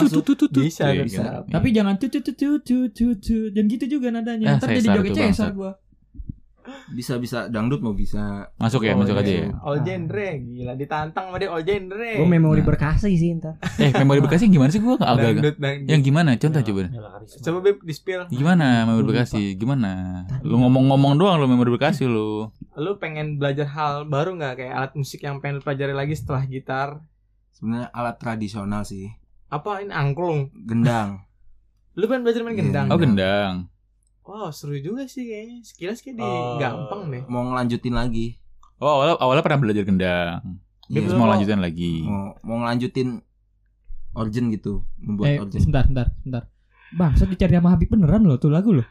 S5: Masuk.
S1: Bisa,
S3: Iya,
S1: bisa.
S3: kan? Iya.
S2: tapi jangan tu tu tu tu tu tu tu dan gitu juga nadanya.
S3: Ah,
S2: Ntar jadi
S3: Cesar
S2: joget
S3: tuh,
S2: Cesar
S3: bangsat.
S2: gua.
S5: Bisa bisa dangdut mau bisa.
S3: masuk ya
S1: Oh,
S3: masuk
S1: iya.
S3: aja ya
S1: All genre, gila ditantang sama dia all genre.
S4: Gue memori
S3: Nah.
S4: berkasih sih ntar.
S3: eh memori bekasi gimana sih gue nggak agak
S1: Dangdut, dangdut.
S3: yang gimana contoh coba
S1: Coba Beb di spill.
S3: Gimana memori Bekasi? Gimana? Lu ngomong-ngomong doang lu memori Bekasi lu.
S1: Lu pengen belajar hal baru nggak kayak alat musik yang pengen lu pelajari lagi setelah gitar?
S5: Sebenarnya alat tradisional sih.
S1: Apa ini angklung?
S5: Gendang.
S1: Lu pengen belajar main
S5: Iya.
S1: gendang?
S3: Oh gendang.
S1: Wow seru juga sih kayaknya. Sekilas kayak di
S6: Oh.
S1: gampang deh.
S5: Mau ngelanjutin lagi.
S3: Oh awalnya, awalnya pernah belajar gendang.
S5: Iya. Oh.
S3: Terus mau lanjutin lagi.
S5: Mau mau ngelanjutin origin gitu, membuat
S2: Eh,
S5: origin.
S2: sebentar, sebentar, sebentar. Bang, dicari sama Habib beneran loh tuh lagu loh.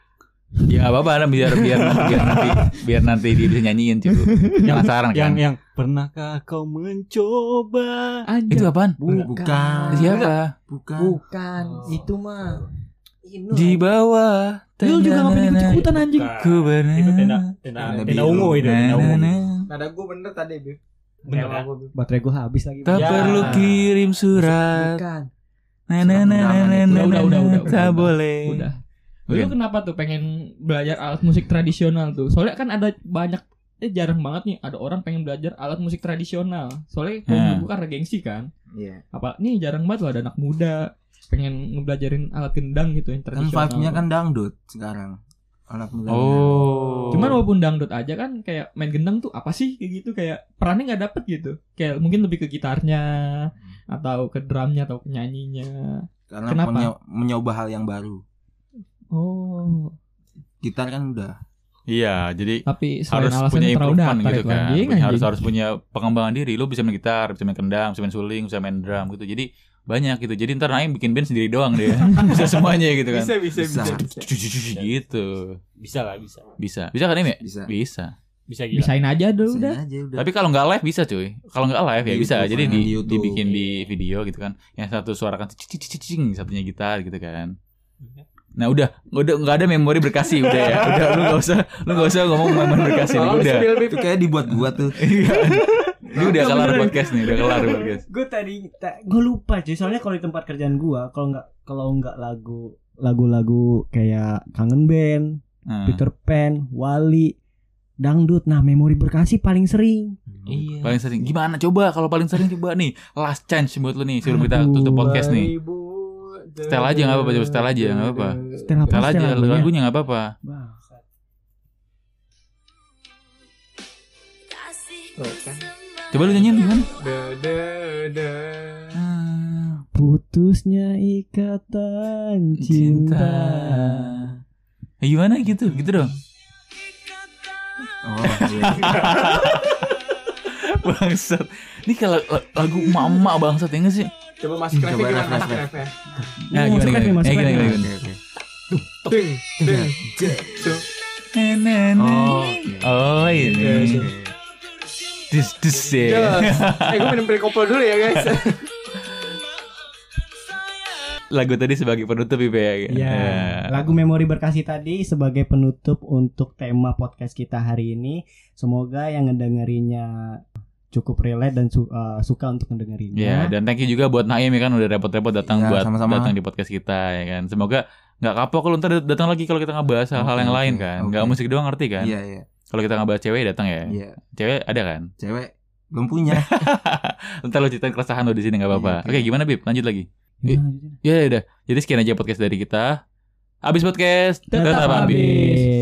S3: Ya nggak apa-apa lah biar biar biar nanti biar nanti dia bisa nyanyiin gitu. Jangan saran kan.
S6: yang yang pernahkah kau mencoba
S3: Itu
S2: Anjir.
S3: apaan?
S5: Bukan.
S2: Iya,
S3: Siapa?
S5: Bukan. Kan
S4: Bukan,
S6: Oh.
S4: itu mah. Inu.
S3: Di bawah.
S2: Lu juga ngapain ikut-ikutan anjing.
S3: Ku benar.
S6: itu tenda tenda
S5: Tenda
S6: tenda
S5: biru.
S6: ungu itu
S3: Na,
S6: tenda
S3: na,
S6: ungu
S3: na.
S1: Nada gue bener tadi Beb.
S6: Bener,
S1: Kayak
S6: ya?
S1: lagu Beb.
S4: Baterai gue habis lagi.
S3: Tak
S6: Ya.
S3: perlu kirim surat.
S4: Bukan.
S3: Na, na, na, na, na, na,
S2: Udah, udah,
S3: na,
S2: udah, udah,
S3: Tak
S2: udah.
S3: boleh.
S2: Udah. Iya.
S3: Oke.
S2: Lu kenapa tuh pengen belajar alat musik tradisional tuh? Soalnya kan ada banyak eh jarang banget nih ada orang pengen belajar alat musik tradisional. Soalnya kalau
S3: Hmm.
S2: dulu karena gengsi kan.
S5: Iya.
S2: Apa nih jarang banget loh ada anak muda pengen ngebelajarin alat gendang gitu yang
S5: Kan
S2: tradisional.
S5: vibe-nya kan dangdut sekarang. Alat muda.
S3: Oh.
S2: Cuman walaupun dangdut aja kan kayak main gendang tuh apa sih kayak gitu kayak perannya nggak dapet gitu. Kayak mungkin lebih ke gitarnya
S5: Hmm.
S2: atau ke drumnya atau ke nyanyinya.
S5: Karena
S2: Kenapa?
S5: menyo- menyoba hal yang baru.
S2: Oh,
S5: Gitar kan udah.
S3: Iya, jadi
S2: tapi selain
S3: harus
S2: alasan
S3: punya
S2: terlalu
S3: improvement
S2: datar
S3: gitu
S2: itu
S3: kan
S2: anjing,
S3: punya, harus
S2: anjing.
S3: harus punya pengembangan diri lu bisa main gitar bisa main kendang bisa main suling bisa main drum gitu jadi banyak gitu jadi ntar Naim bikin band sendiri doang dia bisa semuanya gitu kan
S1: Bisa bisa bisa.
S5: Bisa.
S1: bisa.
S3: gitu
S6: bisa lah bisa
S3: bisa bisa kan Naim ya
S5: Bisa.
S3: bisa
S6: bisa gila
S2: Bisain aja dulu Iya. udah.
S5: Bisa aja udah.
S3: tapi kalau nggak live bisa cuy kalau nggak live ya
S5: Di
S3: bisa
S5: YouTube,
S3: jadi
S5: kan,
S3: di,
S5: di YouTube. iya.
S3: dibikin di video gitu kan yang satu suara kan cing, cing, cing, cing, satunya gitar gitu kan
S5: Iya.
S3: Nah udah, udah nggak ada memori berkasih udah ya. Udah lu nggak usah, lu nggak usah ngomong memori berkasih
S1: Tolong
S3: udah.
S1: spill Beb.
S5: itu kayak dibuat gua tuh.
S3: Iya. Ini udah kelar podcast nih, udah kelar ya, podcast.
S4: gue tadi gue lupa cuy soalnya kalau di tempat kerjaan gue kalau nggak kalau nggak lagu lagu-lagu kayak kangen band
S3: Hmm.
S4: Peter Pan Wali dangdut nah memori berkasih paling sering
S3: Iya. Paling sering gimana? Coba kalau paling sering coba nih last chance buat lu nih sebelum kita
S4: Aduh,
S3: tutup podcast nih.
S1: 2000.
S3: Setel aja, nggak apa-apa, coba setel aja, nggak apa-apa.
S4: setelah
S3: Setel aja lagunya nggak apa-apa.
S1: Tuh, kan.
S3: Coba lu nyanyiin gimana?
S1: Da, da, da.
S4: putusnya ikatan cinta,
S3: Cinta. Eh, Gimana gitu? Gitu dong.
S5: Oh, iya.
S3: bangsat. Ini kalau lagu emak-emak bangsat ya nggak sih?
S1: Coba masuk
S5: Coba
S1: refnya gimana
S5: ref,
S1: masuk
S5: ref,
S1: refnya?
S5: Ya,
S3: Nah,
S4: Ini masuk
S3: gimana,
S4: ref nih,
S3: gimana?
S4: masuk
S3: Eh, gimana,
S4: ref nih.
S3: gimana,
S5: Oke,
S3: gimana?
S5: oke.
S1: Ding, ding.
S3: Na, na, na.
S5: Oh, Iya, oke.
S3: Oh
S6: Iya,
S3: ini. This this
S5: Iya.
S3: ya.
S1: Jelas. Eh, gue minum perikopel dulu ya, guys.
S3: Lagu tadi sebagai penutup Ipe, ya.
S5: Iya.
S4: Ya, lagu memori berkasih tadi sebagai penutup untuk tema podcast kita hari ini. Semoga yang ngedengerinnya cukup relate dan su- eh, suka untuk ngedengerinnya.
S3: Ya, dan thank you juga buat Naim ya kan udah repot-repot datang
S5: Iya,
S3: buat
S5: sama-sama.
S3: datang di podcast kita ya kan. Semoga nggak kapok kalau ntar datang lagi kalau kita ngebahas hal-hal
S5: Oke,
S3: yang lain
S5: oke,
S3: kan.
S5: oke.
S3: Nggak musik doang ngerti kan.
S5: Iya, iya.
S3: Kalau kita ngebahas cewek datang ya.
S5: Iya,
S3: Cewek ada kan.
S5: cewek belum punya.
S3: ntar lu ceritain keresahan lu di sini nggak apa-apa.
S5: Iya, oke.
S3: Oke, gimana Bib? Lanjut lagi. Iya,
S4: Nah, gitu.
S3: Ya udah. Jadi sekian aja podcast dari kita. Abis podcast
S2: Tetap
S3: tetap,
S2: habis.
S3: habis.